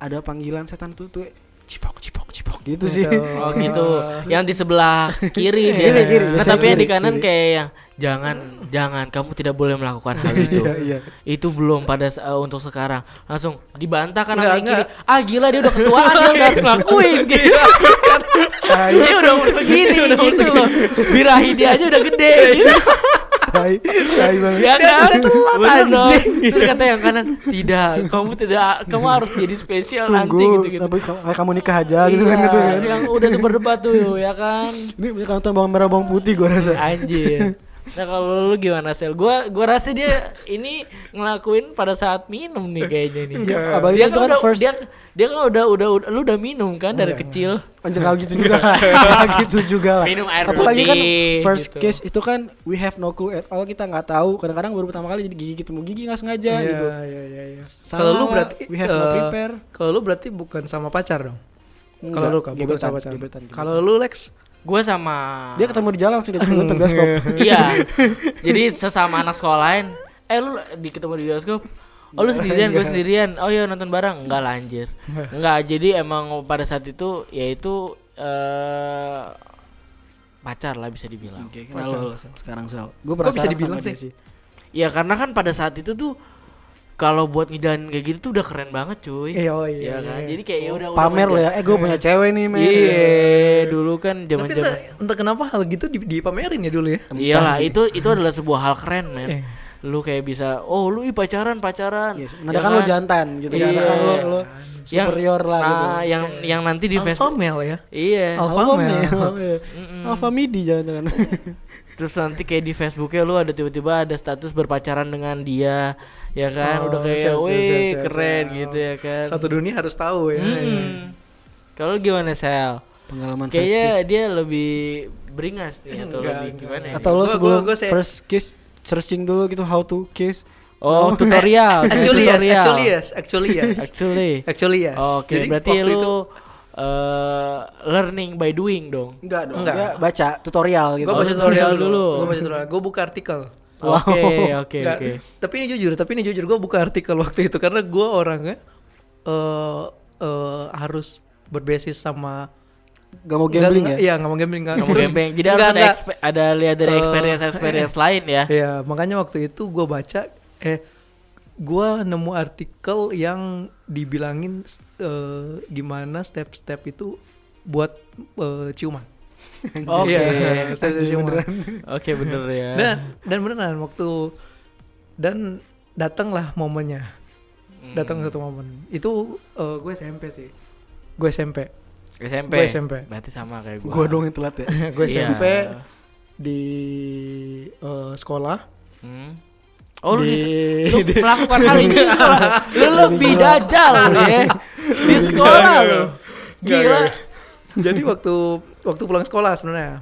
[SPEAKER 2] ada panggilan setan tuh tuh cipok cipok cipok gitu sih
[SPEAKER 3] Oh gitu. Yang di sebelah kiri dia.
[SPEAKER 2] Iya, Kiri, kiri,
[SPEAKER 3] Nah,
[SPEAKER 2] biasanya
[SPEAKER 3] tapi yang di
[SPEAKER 2] kiri,
[SPEAKER 3] kanan
[SPEAKER 2] kiri.
[SPEAKER 3] kayak yang jangan jangan kamu tidak boleh melakukan hal itu.
[SPEAKER 2] iya iya
[SPEAKER 3] Itu belum pada sa- uh, untuk sekarang. Langsung dibantah kan
[SPEAKER 1] Nggak,
[SPEAKER 3] sama yang kiri.
[SPEAKER 1] nggak.
[SPEAKER 3] Ah gila dia udah ketuaan
[SPEAKER 2] Iya.
[SPEAKER 3] dia udah ngelakuin gitu. dia udah
[SPEAKER 2] Iya,
[SPEAKER 3] umur segini gitu loh. Birahi dia aja udah gede gitu.
[SPEAKER 2] tai tai banget
[SPEAKER 1] Dia
[SPEAKER 3] Ya kan?
[SPEAKER 1] udah telat,
[SPEAKER 3] Bener dong.
[SPEAKER 1] anjing.
[SPEAKER 3] Terus kata yang kanan, "Tidak, kamu tidak kamu harus jadi spesial nanti
[SPEAKER 2] tunggu
[SPEAKER 3] gitu-gitu."
[SPEAKER 2] sampai kamu- kayak kamu nikah aja gitu kan gitu
[SPEAKER 3] Iya,
[SPEAKER 2] kan
[SPEAKER 3] yang udah tuh berdebat tuh ya kan.
[SPEAKER 2] ini punya kantong bawang merah bawang putih gue
[SPEAKER 3] Iya.
[SPEAKER 2] rasa
[SPEAKER 3] Anjir. Nah kalau lu gimana sel? Gua gua rasa dia ini ngelakuin pada saat minum nih kayaknya nih.
[SPEAKER 2] Iya, apalagi
[SPEAKER 3] dia
[SPEAKER 2] itu
[SPEAKER 3] kan
[SPEAKER 2] kan
[SPEAKER 3] udah,
[SPEAKER 2] first- Iya.
[SPEAKER 3] dia, dia kan udah, udah udah lu udah minum kan dari kecil.
[SPEAKER 2] Anjir kalau gitu juga lah. Kalau gitu juga lah.
[SPEAKER 3] Minum air
[SPEAKER 2] Apalagi kan
[SPEAKER 3] putih,
[SPEAKER 2] first
[SPEAKER 3] gitu.
[SPEAKER 2] case itu kan we have no clue at all kita nggak tahu. Kadang-kadang baru pertama kali jadi gigi ketemu gigi nggak sengaja
[SPEAKER 1] Iya,
[SPEAKER 2] gitu.
[SPEAKER 1] iya, iya, iya.
[SPEAKER 2] Salah
[SPEAKER 1] Kalau lu
[SPEAKER 2] lah,
[SPEAKER 1] berarti
[SPEAKER 2] we have no
[SPEAKER 1] eh,
[SPEAKER 2] prepare.
[SPEAKER 1] Kalau lu berarti bukan sama pacar dong. Kalau
[SPEAKER 2] Enggak,
[SPEAKER 1] lu kan bukan
[SPEAKER 2] gebetan,
[SPEAKER 1] sama pacar.
[SPEAKER 2] gebetan, gebetan.
[SPEAKER 1] Kalau lu Lex
[SPEAKER 3] Gua sama
[SPEAKER 2] Dia ketemu di jalan langsung dia ketemu di bioskop.
[SPEAKER 3] Iya. Jadi sesama anak sekolah lain, eh lu di ketemu di bioskop. Oh lu sendirian, gue sendirian. Oh iya nonton bareng. Enggak lah anjir. Enggak, jadi emang pada saat itu yaitu eh pacar lah bisa dibilang.
[SPEAKER 2] Nah, lo, lo, Sel, sekarang sel. Gue
[SPEAKER 1] Kok bisa
[SPEAKER 2] penasaran
[SPEAKER 1] dibilang
[SPEAKER 2] sama dia
[SPEAKER 1] sih?
[SPEAKER 2] sih.
[SPEAKER 3] Ya karena kan pada saat itu tuh kalau buat ngejalanin kayak gitu tuh udah keren banget cuy.
[SPEAKER 1] Iya, oh iya,
[SPEAKER 3] Ya kan?
[SPEAKER 1] iya.
[SPEAKER 3] Jadi kayak ya udah udah
[SPEAKER 2] pamer lo
[SPEAKER 3] menja-
[SPEAKER 2] ya eh gue punya cewek nih men
[SPEAKER 3] Iya, dulu kan
[SPEAKER 1] Tapi entah,
[SPEAKER 3] zaman-zaman
[SPEAKER 1] entah kenapa hal gitu di- dipamerin ya dulu ya.
[SPEAKER 3] Iyalah, itu itu adalah sebuah hal keren, men.
[SPEAKER 1] Iya.
[SPEAKER 3] Lu kayak bisa, oh lu ih pacaran, pacaran.
[SPEAKER 2] Yes.
[SPEAKER 3] Ya
[SPEAKER 2] Menandakan lo
[SPEAKER 3] kan?
[SPEAKER 2] jantan gitu
[SPEAKER 3] Iya.
[SPEAKER 2] Menandakan lo, lo
[SPEAKER 3] Yang-
[SPEAKER 2] superior lah
[SPEAKER 3] nah,
[SPEAKER 2] gitu
[SPEAKER 3] yang yang nanti di
[SPEAKER 1] Alpha
[SPEAKER 3] Facebook.
[SPEAKER 1] male ya.
[SPEAKER 3] Iya.
[SPEAKER 1] Alpha
[SPEAKER 2] Alpha
[SPEAKER 1] male.
[SPEAKER 2] male. Alpha midi jangan-jangan
[SPEAKER 3] Terus nanti kayak di Facebooknya lu ada tiba-tiba ada status berpacaran dengan dia, ya kan?
[SPEAKER 1] Oh,
[SPEAKER 3] Udah kayak,
[SPEAKER 1] siap, siap, siap,
[SPEAKER 3] wih
[SPEAKER 1] siap,
[SPEAKER 3] keren
[SPEAKER 1] siap.
[SPEAKER 3] gitu ya kan.
[SPEAKER 1] Satu dunia harus tahu ya.
[SPEAKER 3] Hmm. Kalau lu gimana sel?
[SPEAKER 2] pengalaman first
[SPEAKER 3] Kayaknya
[SPEAKER 2] kiss
[SPEAKER 3] dia lebih beringas nih atau
[SPEAKER 1] Enggak,
[SPEAKER 3] lebih
[SPEAKER 1] enggak.
[SPEAKER 3] gimana? ya?
[SPEAKER 2] atau lo
[SPEAKER 1] Gua-
[SPEAKER 2] sebelum
[SPEAKER 1] gua- gua se-
[SPEAKER 2] first kiss searching dulu gitu how to kiss
[SPEAKER 3] Oh, tutorial,
[SPEAKER 1] Actually yes,
[SPEAKER 3] tutorial.
[SPEAKER 1] actually yes, actually yes.
[SPEAKER 3] Actually.
[SPEAKER 1] Actually yes.
[SPEAKER 3] Oke,
[SPEAKER 1] Jadi
[SPEAKER 3] berarti
[SPEAKER 1] waktu
[SPEAKER 3] lu
[SPEAKER 1] itu
[SPEAKER 3] eh, learning by doing dong.
[SPEAKER 2] enggak dong
[SPEAKER 1] Enggak.
[SPEAKER 2] dia Ya, baca tutorial gitu
[SPEAKER 1] gue
[SPEAKER 3] Oh,
[SPEAKER 1] baca
[SPEAKER 3] tutorial
[SPEAKER 1] tutorial
[SPEAKER 3] dulu.
[SPEAKER 1] dulu. Gue baca tutorial. Gue buka artikel.
[SPEAKER 2] Wow.
[SPEAKER 3] Oke, oke,
[SPEAKER 1] Nggak,
[SPEAKER 3] oke.
[SPEAKER 1] Tapi ini jujur, tapi ini jujur gue buka artikel waktu itu karena gue orangnya eh eh, harus berbasis sama
[SPEAKER 2] gak mau gambling
[SPEAKER 1] Nggak-
[SPEAKER 2] ya
[SPEAKER 1] Iya, nggak mau gambling nggak.
[SPEAKER 3] Kamu
[SPEAKER 1] Terus-
[SPEAKER 3] gembeng. Jadi
[SPEAKER 1] nggak,
[SPEAKER 3] harus ada,
[SPEAKER 1] nggak.
[SPEAKER 3] expe- ada lihat dari
[SPEAKER 1] Eh,
[SPEAKER 3] experience experience lain ya.
[SPEAKER 1] Iya, makanya waktu itu gue baca eh gue nemu artikel yang dibilangin eh, gimana step-step itu buat eh, ciuman.
[SPEAKER 3] Oke.
[SPEAKER 1] Iya, step-step
[SPEAKER 2] Anjing,
[SPEAKER 1] ciuman.
[SPEAKER 2] beneran.
[SPEAKER 3] Oke, bener ya.
[SPEAKER 1] Dan dan beneran waktu dan datanglah momennya.
[SPEAKER 3] Hmm.
[SPEAKER 1] Datang satu momen. Itu eh, gue SMP sih. Gue SMP.
[SPEAKER 3] SMP.
[SPEAKER 1] Gua SMP.
[SPEAKER 3] Berarti sama
[SPEAKER 1] Iya.
[SPEAKER 3] kayak gua.
[SPEAKER 2] gua dong yang telat ya
[SPEAKER 1] gue
[SPEAKER 3] Iya.
[SPEAKER 1] SMP di eh, sekolah.
[SPEAKER 3] Hmm. Oh, lu di,
[SPEAKER 1] di,
[SPEAKER 3] lu melakukan hal ini di sekolah. Lu lebih dajal lu ya. Di sekolah lu.
[SPEAKER 1] Nggak,
[SPEAKER 3] Gila.
[SPEAKER 1] nggak, nggak. Jadi waktu waktu pulang sekolah sebenarnya.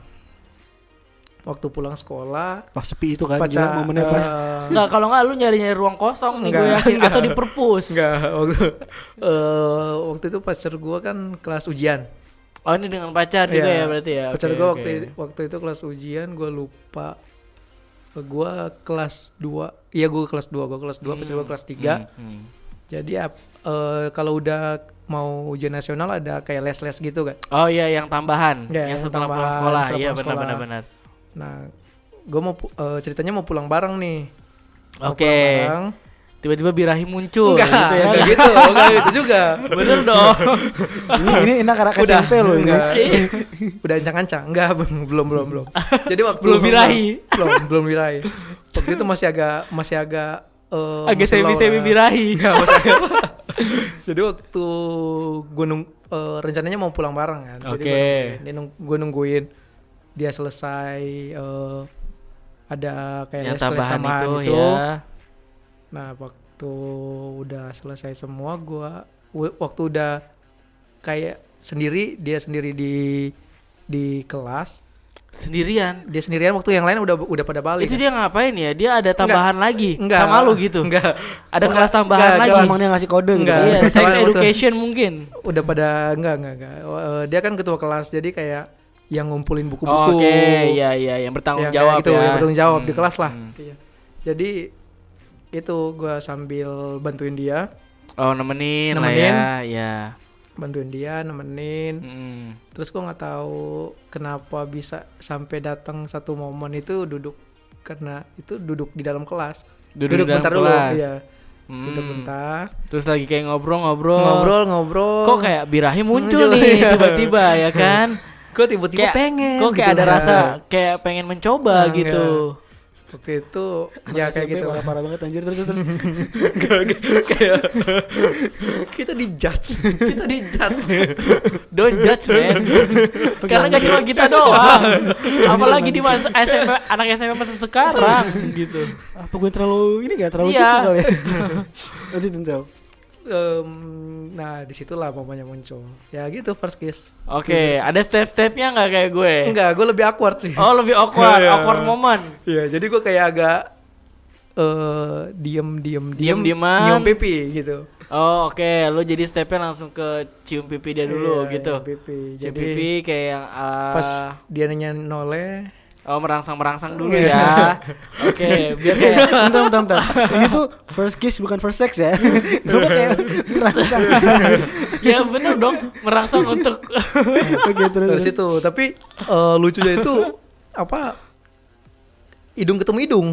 [SPEAKER 1] Waktu pulang sekolah
[SPEAKER 2] pas sepi itu kan gila momennya
[SPEAKER 1] eh,
[SPEAKER 2] pas
[SPEAKER 3] Enggak, kalau enggak lu nyari-nyari ruang kosong nih gue
[SPEAKER 1] Nggak,
[SPEAKER 3] yakin
[SPEAKER 1] nggak.
[SPEAKER 3] atau di perpus.
[SPEAKER 1] nggak, waktu eh, waktu itu pacar gua kan kelas ujian.
[SPEAKER 3] Oh, ini dengan pacar juga
[SPEAKER 1] Iya.
[SPEAKER 3] ya berarti ya.
[SPEAKER 1] pacar
[SPEAKER 3] Oke,
[SPEAKER 1] gua
[SPEAKER 3] oke.
[SPEAKER 1] waktu waktu itu kelas ujian gua lupa gua kelas 2. Iya gua kelas 2, gua kelas 2, pacar gua kelas 3.
[SPEAKER 3] Hmm, hmm.
[SPEAKER 1] Jadi ap- eh, kalau udah mau ujian nasional ada kayak les-les gitu kan.
[SPEAKER 3] Oh iya yang tambahan,
[SPEAKER 1] Iya,
[SPEAKER 3] yang
[SPEAKER 1] yang
[SPEAKER 3] setelah pulang
[SPEAKER 1] tambahan,
[SPEAKER 3] sekolah.
[SPEAKER 1] setelah pulang
[SPEAKER 3] Iya benar
[SPEAKER 1] sekolah.
[SPEAKER 3] benar benar.
[SPEAKER 1] Nah, gua mau pu- eh, ceritanya mau pulang bareng nih. Mau
[SPEAKER 3] Oke.
[SPEAKER 1] pulang bareng.
[SPEAKER 3] Tiba-tiba birahi muncul
[SPEAKER 1] enggak,
[SPEAKER 3] gitu ya.
[SPEAKER 1] enggak gitu, enggak gitu juga.
[SPEAKER 3] bener dong.
[SPEAKER 2] ini ini enak anak SMP lo ini
[SPEAKER 1] eh, enggak. udah ancang-ancang, enggak belum belum belum. Jadi waktu
[SPEAKER 3] Belum birahi.
[SPEAKER 1] belum belum birahi. Waktu itu masih agak masih agak eh,
[SPEAKER 3] Agak
[SPEAKER 1] masih low lah.
[SPEAKER 3] semi-semi birahi.
[SPEAKER 1] Enggak maksudnya. Jadi waktu gue nung, eh, rencananya mau pulang bareng kan. Jadi
[SPEAKER 3] Oke.
[SPEAKER 1] Gue nungguin, gue nungguin dia selesai eh, ada kayak
[SPEAKER 3] yang
[SPEAKER 1] les-les
[SPEAKER 3] tambahan itu, ya.
[SPEAKER 1] Nah, waktu udah selesai semua gua w- waktu udah kayak sendiri dia sendiri di di kelas,
[SPEAKER 3] Sendirian.
[SPEAKER 1] dia sendirian waktu yang lain udah udah pada balik.
[SPEAKER 3] Itu dia ngapain ya? Dia ada tambahan lagi
[SPEAKER 1] Enggak.
[SPEAKER 3] sama lu gitu.
[SPEAKER 1] Enggak. Enggak,
[SPEAKER 3] Ada kelas tambahan
[SPEAKER 1] enggak,
[SPEAKER 3] lagi.
[SPEAKER 1] enggak,
[SPEAKER 2] emangnya ngasih kode gitu
[SPEAKER 1] Enggak.
[SPEAKER 3] Iya, sex
[SPEAKER 1] Soalnya waktu-
[SPEAKER 3] education mungkin.
[SPEAKER 1] Udah pada enggak enggak enggak. Eh, dia kan ketua kelas jadi kayak yang ngumpulin
[SPEAKER 3] Oke,
[SPEAKER 1] buku-buku.
[SPEAKER 3] iya iya yang bertanggung
[SPEAKER 1] Yang kayak
[SPEAKER 3] jawab
[SPEAKER 1] gitu,
[SPEAKER 3] ya.
[SPEAKER 1] yang bertanggung jawab di
[SPEAKER 3] Hmm,
[SPEAKER 1] kelas lah.
[SPEAKER 3] hmm.
[SPEAKER 1] Iya. Jadi itu gua sambil bantuin dia,
[SPEAKER 3] Oh, nemenin,
[SPEAKER 1] Nemenin.
[SPEAKER 3] lah ya. Iya.
[SPEAKER 1] bantuin dia nemenin.
[SPEAKER 3] Hmm.
[SPEAKER 1] Terus gue nggak tahu kenapa bisa sampai datang satu momen itu duduk karena itu duduk di dalam kelas.
[SPEAKER 3] Duduk, di dalam
[SPEAKER 1] bentar
[SPEAKER 3] kelas.
[SPEAKER 1] dulu, iya.
[SPEAKER 3] Hmm.
[SPEAKER 1] Duduk bentar.
[SPEAKER 3] Terus lagi kayak ngobrol-ngobrol.
[SPEAKER 1] Ngobrol, ngobrol.
[SPEAKER 3] Kok kayak birahi muncul
[SPEAKER 1] Muncul,
[SPEAKER 3] nih
[SPEAKER 1] iya.
[SPEAKER 3] tiba-tiba ya kan?
[SPEAKER 1] Gue tiba-tiba pengen.
[SPEAKER 3] Kok kayak
[SPEAKER 1] gitu.
[SPEAKER 3] ada
[SPEAKER 1] Nah,
[SPEAKER 3] rasa kayak pengen mencoba
[SPEAKER 1] Nah,
[SPEAKER 3] gitu.
[SPEAKER 1] Waktu itu
[SPEAKER 2] Anak
[SPEAKER 1] ya kayak
[SPEAKER 2] SMP
[SPEAKER 1] gitu.
[SPEAKER 2] parah parah banget anjir terus terus terus.
[SPEAKER 1] Nggak, nggak, kayak kita dijudge. Kita dijudge.
[SPEAKER 3] Don't judge man. Karena gak cuma kita doang. Apalagi di masa SMP anak SMP masa sekarang gitu.
[SPEAKER 2] apa gue terlalu ini gak terlalu
[SPEAKER 3] Iya.
[SPEAKER 2] cukup kali ya lanjutin Sel.
[SPEAKER 1] Em, nah, disitulah mamanya muncul. Ya gitu first kiss.
[SPEAKER 3] Oke, ada step-stepnya nggak kayak gue?
[SPEAKER 1] Enggak, gue lebih awkward sih.
[SPEAKER 3] Eh. Oh lebih awkward,
[SPEAKER 1] Iya.
[SPEAKER 3] awkward moment.
[SPEAKER 1] Iya, jadi gue kayak agak eh diem diem diem
[SPEAKER 3] Diem-dieman.
[SPEAKER 1] nyium pipi gitu.
[SPEAKER 3] Oh oke, lo jadi stepnya langsung ke cium pipi dia dulu
[SPEAKER 1] Iya,
[SPEAKER 3] gitu.
[SPEAKER 1] Nyium pipi.
[SPEAKER 3] Cium
[SPEAKER 1] Jadi
[SPEAKER 3] pipi kayak yang ah,
[SPEAKER 1] pas dia nanya noleh,
[SPEAKER 3] oh merangsang-merangsang dulu
[SPEAKER 1] Iya.
[SPEAKER 3] ya. Oke, biar kayak
[SPEAKER 2] bentar bentar bentar ini tuh first kiss bukan first sex ya gue kayak merangsang
[SPEAKER 3] ya bener dong merangsang untuk
[SPEAKER 2] oke terus
[SPEAKER 1] terus
[SPEAKER 2] terus
[SPEAKER 1] itu. Tapi eh, lucunya itu apa? Hidung ketemu hidung.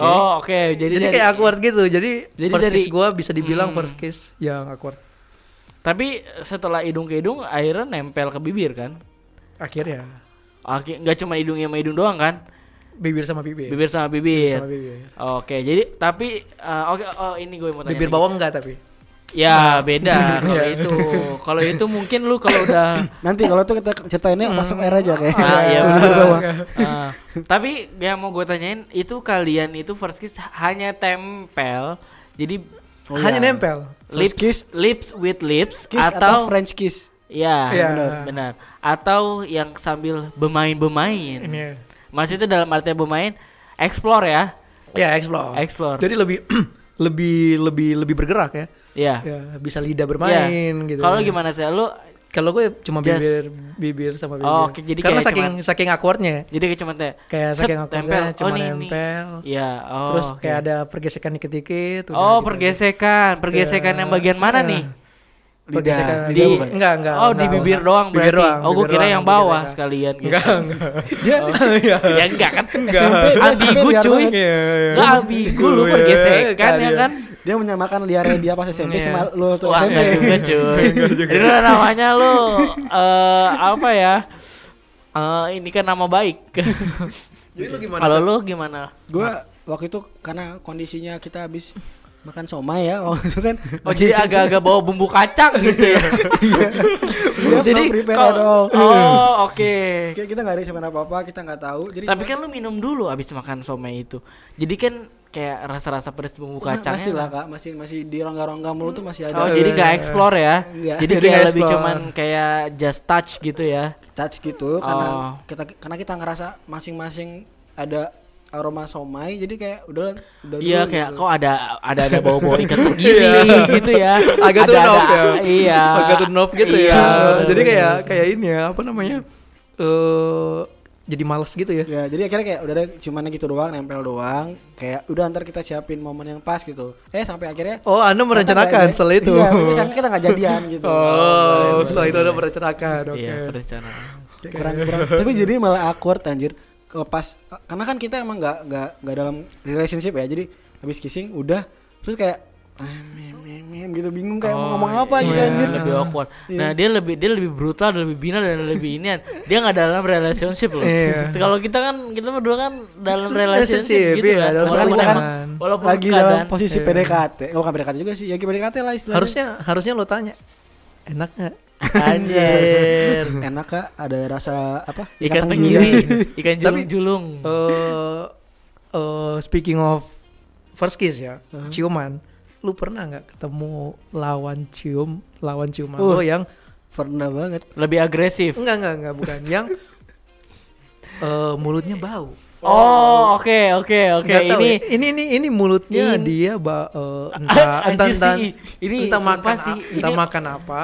[SPEAKER 3] Oh, oke. Jadi,
[SPEAKER 1] Jadi,
[SPEAKER 3] dari-
[SPEAKER 1] kayak awkward gitu. Jadi,
[SPEAKER 3] Jadi
[SPEAKER 1] first
[SPEAKER 3] dari-
[SPEAKER 1] kiss gue bisa dibilang
[SPEAKER 3] Hmm.
[SPEAKER 1] first kiss yang awkward.
[SPEAKER 3] tapi setelah hidung ke hidung akhirnya nempel ke bibir kan?
[SPEAKER 1] Akhirnya
[SPEAKER 3] Oke, nggak cuma hidung sama hidung doang kan?
[SPEAKER 1] bibir sama bibir.
[SPEAKER 3] Bibir
[SPEAKER 1] Iya.
[SPEAKER 3] sama
[SPEAKER 1] Bibir
[SPEAKER 3] bibir.
[SPEAKER 1] sama bibir.
[SPEAKER 3] Oke, jadi tapi eh, oke oh ini gue mau tanya.
[SPEAKER 1] Bibir Nah.
[SPEAKER 3] lagi.
[SPEAKER 1] bawang enggak tapi.
[SPEAKER 3] Ya, beda kalau itu. Kalau itu mungkin lu kalau udah
[SPEAKER 2] Nanti kalau tuh kita ceritainnya masuk air aja kayak.
[SPEAKER 3] Hmm. Ah, iya,
[SPEAKER 2] Tuh, di
[SPEAKER 3] bener.
[SPEAKER 2] bawah.
[SPEAKER 3] Eh, tapi yang mau gue tanyain itu kalian itu first kiss hanya tempel. Jadi
[SPEAKER 2] Oh,
[SPEAKER 1] Hanya
[SPEAKER 2] iya.
[SPEAKER 1] nempel.
[SPEAKER 3] lips
[SPEAKER 2] First kiss?
[SPEAKER 3] lips with lips
[SPEAKER 2] Kiss atau,
[SPEAKER 3] atau,
[SPEAKER 2] French kiss.
[SPEAKER 3] ya
[SPEAKER 1] Iya.
[SPEAKER 3] benar benar atau yang sambil bermain-bermain.
[SPEAKER 1] Ini.
[SPEAKER 3] Maksudnya dalam artinya bermain explore ya.
[SPEAKER 1] Ya, explore.
[SPEAKER 3] Explore.
[SPEAKER 1] Jadi lebih lebih lebih lebih bergerak ya.
[SPEAKER 3] Iya.
[SPEAKER 1] Ya, bisa lidah bermain
[SPEAKER 3] Iya.
[SPEAKER 1] gitu.
[SPEAKER 3] Kalau lu gimana sih? Lu
[SPEAKER 1] Kalau gue cuma
[SPEAKER 3] Just-
[SPEAKER 1] bibir bibir sama bibir.
[SPEAKER 3] Oh, oke, jadi
[SPEAKER 1] Karena
[SPEAKER 3] kayak
[SPEAKER 1] saking saking awkwardnya ya.
[SPEAKER 3] jadi kayak cuma teh
[SPEAKER 1] Kayak
[SPEAKER 3] set, Oh,
[SPEAKER 1] saking awkwardnya cuma
[SPEAKER 3] nih, nih.
[SPEAKER 1] nempel.
[SPEAKER 3] Iya, oh.
[SPEAKER 1] Terus
[SPEAKER 3] oke.
[SPEAKER 1] kayak ada pergesekan dikit-dikit. udah
[SPEAKER 3] Oh,
[SPEAKER 1] gitu.
[SPEAKER 3] pergesekan. Pergesekan
[SPEAKER 1] Ya.
[SPEAKER 3] yang bagian mana
[SPEAKER 1] Ya.
[SPEAKER 3] nih?
[SPEAKER 1] Pergesekan di,
[SPEAKER 2] Lidah, lidah
[SPEAKER 3] Di-
[SPEAKER 2] bukan.
[SPEAKER 1] Iya, enggak enggak.
[SPEAKER 3] oh, di
[SPEAKER 1] enggak.
[SPEAKER 3] bibir doang
[SPEAKER 1] Bibir
[SPEAKER 3] berarti.
[SPEAKER 1] doang,
[SPEAKER 3] oh, gue
[SPEAKER 1] bibir
[SPEAKER 3] kira
[SPEAKER 1] doang
[SPEAKER 3] yang bawah
[SPEAKER 1] pergesekan.
[SPEAKER 3] sekalian gitu.
[SPEAKER 1] Enggak, enggak.
[SPEAKER 2] Dia
[SPEAKER 1] Iya.
[SPEAKER 3] ya enggak kan?
[SPEAKER 2] SMP, dia SMP
[SPEAKER 3] ambigu
[SPEAKER 2] liar
[SPEAKER 3] cuy.
[SPEAKER 2] banget.
[SPEAKER 3] Enggak ambigu lu
[SPEAKER 1] Iya,
[SPEAKER 3] pergesekan ya
[SPEAKER 1] kalian.
[SPEAKER 3] kan?
[SPEAKER 2] Dia menyamakan liarnya dia pas SMP
[SPEAKER 1] Iya.
[SPEAKER 2] sama lu tuh
[SPEAKER 3] Wah,
[SPEAKER 2] SMP.
[SPEAKER 3] enggak juga cuy. Itu namanya lu eh apa ya? Eh ini kan nama baik.
[SPEAKER 1] Jadi lu gimana?
[SPEAKER 3] Kalau lu gimana?
[SPEAKER 2] Gua waktu itu karena kondisinya kita habis makan somai ya waktu itu kan.
[SPEAKER 3] Oh jadi agak-agak bawa bumbu kacang gitu ya.
[SPEAKER 1] Iya,
[SPEAKER 2] Dia jadi prepare
[SPEAKER 3] kalau-
[SPEAKER 2] at all.
[SPEAKER 3] Oh oke.
[SPEAKER 2] Kayak kita nggak ada sama apa-apa, kita nggak tahu. Jadi
[SPEAKER 3] Tapi kan lu minum dulu abis makan somai itu. Jadi kan kayak rasa-rasa pedas bumbu
[SPEAKER 1] Nah,
[SPEAKER 2] Ma- Nah, masih lah
[SPEAKER 3] kacangnya.
[SPEAKER 2] kak, masih masih di rongga-rongga mulut tuh masih
[SPEAKER 3] Oh
[SPEAKER 2] ada
[SPEAKER 1] iya,
[SPEAKER 3] jadi nggak explore ya?
[SPEAKER 2] Enggak.
[SPEAKER 1] Jadi
[SPEAKER 3] Jadi kayak
[SPEAKER 1] nggak
[SPEAKER 3] lebih
[SPEAKER 1] explore.
[SPEAKER 3] cuman kayak just touch gitu ya?
[SPEAKER 2] touch gitu karena
[SPEAKER 3] Oh.
[SPEAKER 2] kita karena kita ngerasa masing-masing ada aroma somai jadi kayak udah udah
[SPEAKER 3] Iya
[SPEAKER 2] dulu
[SPEAKER 3] kayak
[SPEAKER 2] gitu.
[SPEAKER 3] kok ada ada ada bawa-bawa ikat tenggiri gitu ya?
[SPEAKER 1] Iya. agak
[SPEAKER 3] ada,
[SPEAKER 1] turn off
[SPEAKER 3] ada-
[SPEAKER 1] ya
[SPEAKER 3] Iya.
[SPEAKER 1] agak turn off gitu
[SPEAKER 3] Iya,
[SPEAKER 1] ya jadi kayak kayak ini ya apa namanya eh jadi malas gitu ya
[SPEAKER 2] Ya, jadi akhirnya kayak udah ada cuman gitu doang, nempel doang. Kayak udah ntar kita siapin momen yang pas gitu. Eh sampai akhirnya
[SPEAKER 1] oh anda
[SPEAKER 2] ternyata nggak
[SPEAKER 1] merencanakan
[SPEAKER 2] jadi.
[SPEAKER 1] setelah itu
[SPEAKER 2] Iya, tapi misalnya kita nggak jadian gitu.
[SPEAKER 1] oh setelah itu anda merencanakan oke
[SPEAKER 3] Iya perencanaan.
[SPEAKER 2] kurang kurang. tapi jadi malah awkward anjir. Kelepas karena kan kita emang nggak nggak nggak dalam relationship ya. Jadi habis kissing udah terus kayak ah, mem, mem, mem, gitu bingung kayak mau ngomong apa gitu
[SPEAKER 3] Iya,
[SPEAKER 2] anjir.
[SPEAKER 3] lebih awkward. Nah, dia lebih dia lebih brutal, dia lebih binal dan lebih inian. Dia nggak dalam relationship loh.
[SPEAKER 1] Iya.
[SPEAKER 3] So, Kalau kita kan kita berdua kan dalam relationship
[SPEAKER 1] Relationship,
[SPEAKER 3] gitu
[SPEAKER 1] iya,
[SPEAKER 3] kan.
[SPEAKER 1] dalam
[SPEAKER 3] Walaupun
[SPEAKER 2] hubungan.
[SPEAKER 3] emang- walaupun
[SPEAKER 2] lagi dalam
[SPEAKER 3] keadaan
[SPEAKER 2] posisi
[SPEAKER 1] Iya.
[SPEAKER 2] PDKT. Oh, bukan PDKT juga sih. Ya PDKT lah istilahnya.
[SPEAKER 1] harusnya harusnya lo tanya enak nggak
[SPEAKER 3] anjir.
[SPEAKER 2] enak Kak, ada rasa apa? gitu.
[SPEAKER 3] Ikan tenggiri,
[SPEAKER 2] tenggiri.
[SPEAKER 3] ikan julung-julung.
[SPEAKER 1] eh eh, speaking of first kiss ya ciuman lu pernah nggak ketemu lawan cium lawan ciuman
[SPEAKER 2] Uh.
[SPEAKER 1] lo yang
[SPEAKER 2] Pernah banget.
[SPEAKER 3] Lebih agresif.
[SPEAKER 1] enggak enggak enggak bukan yang eh, mulutnya bau
[SPEAKER 3] Oh, oke, oke, oke.
[SPEAKER 1] Nggak tahu
[SPEAKER 3] Ini
[SPEAKER 1] ya. ini ini ini mulutnya
[SPEAKER 3] Ini- Ah,
[SPEAKER 1] dia ba, eh, entah entah,
[SPEAKER 3] Anjir
[SPEAKER 1] entah,
[SPEAKER 3] sih, ini
[SPEAKER 1] entah
[SPEAKER 3] sumpah
[SPEAKER 1] makan
[SPEAKER 3] sih,
[SPEAKER 1] a- entah
[SPEAKER 3] ini-
[SPEAKER 1] makan apa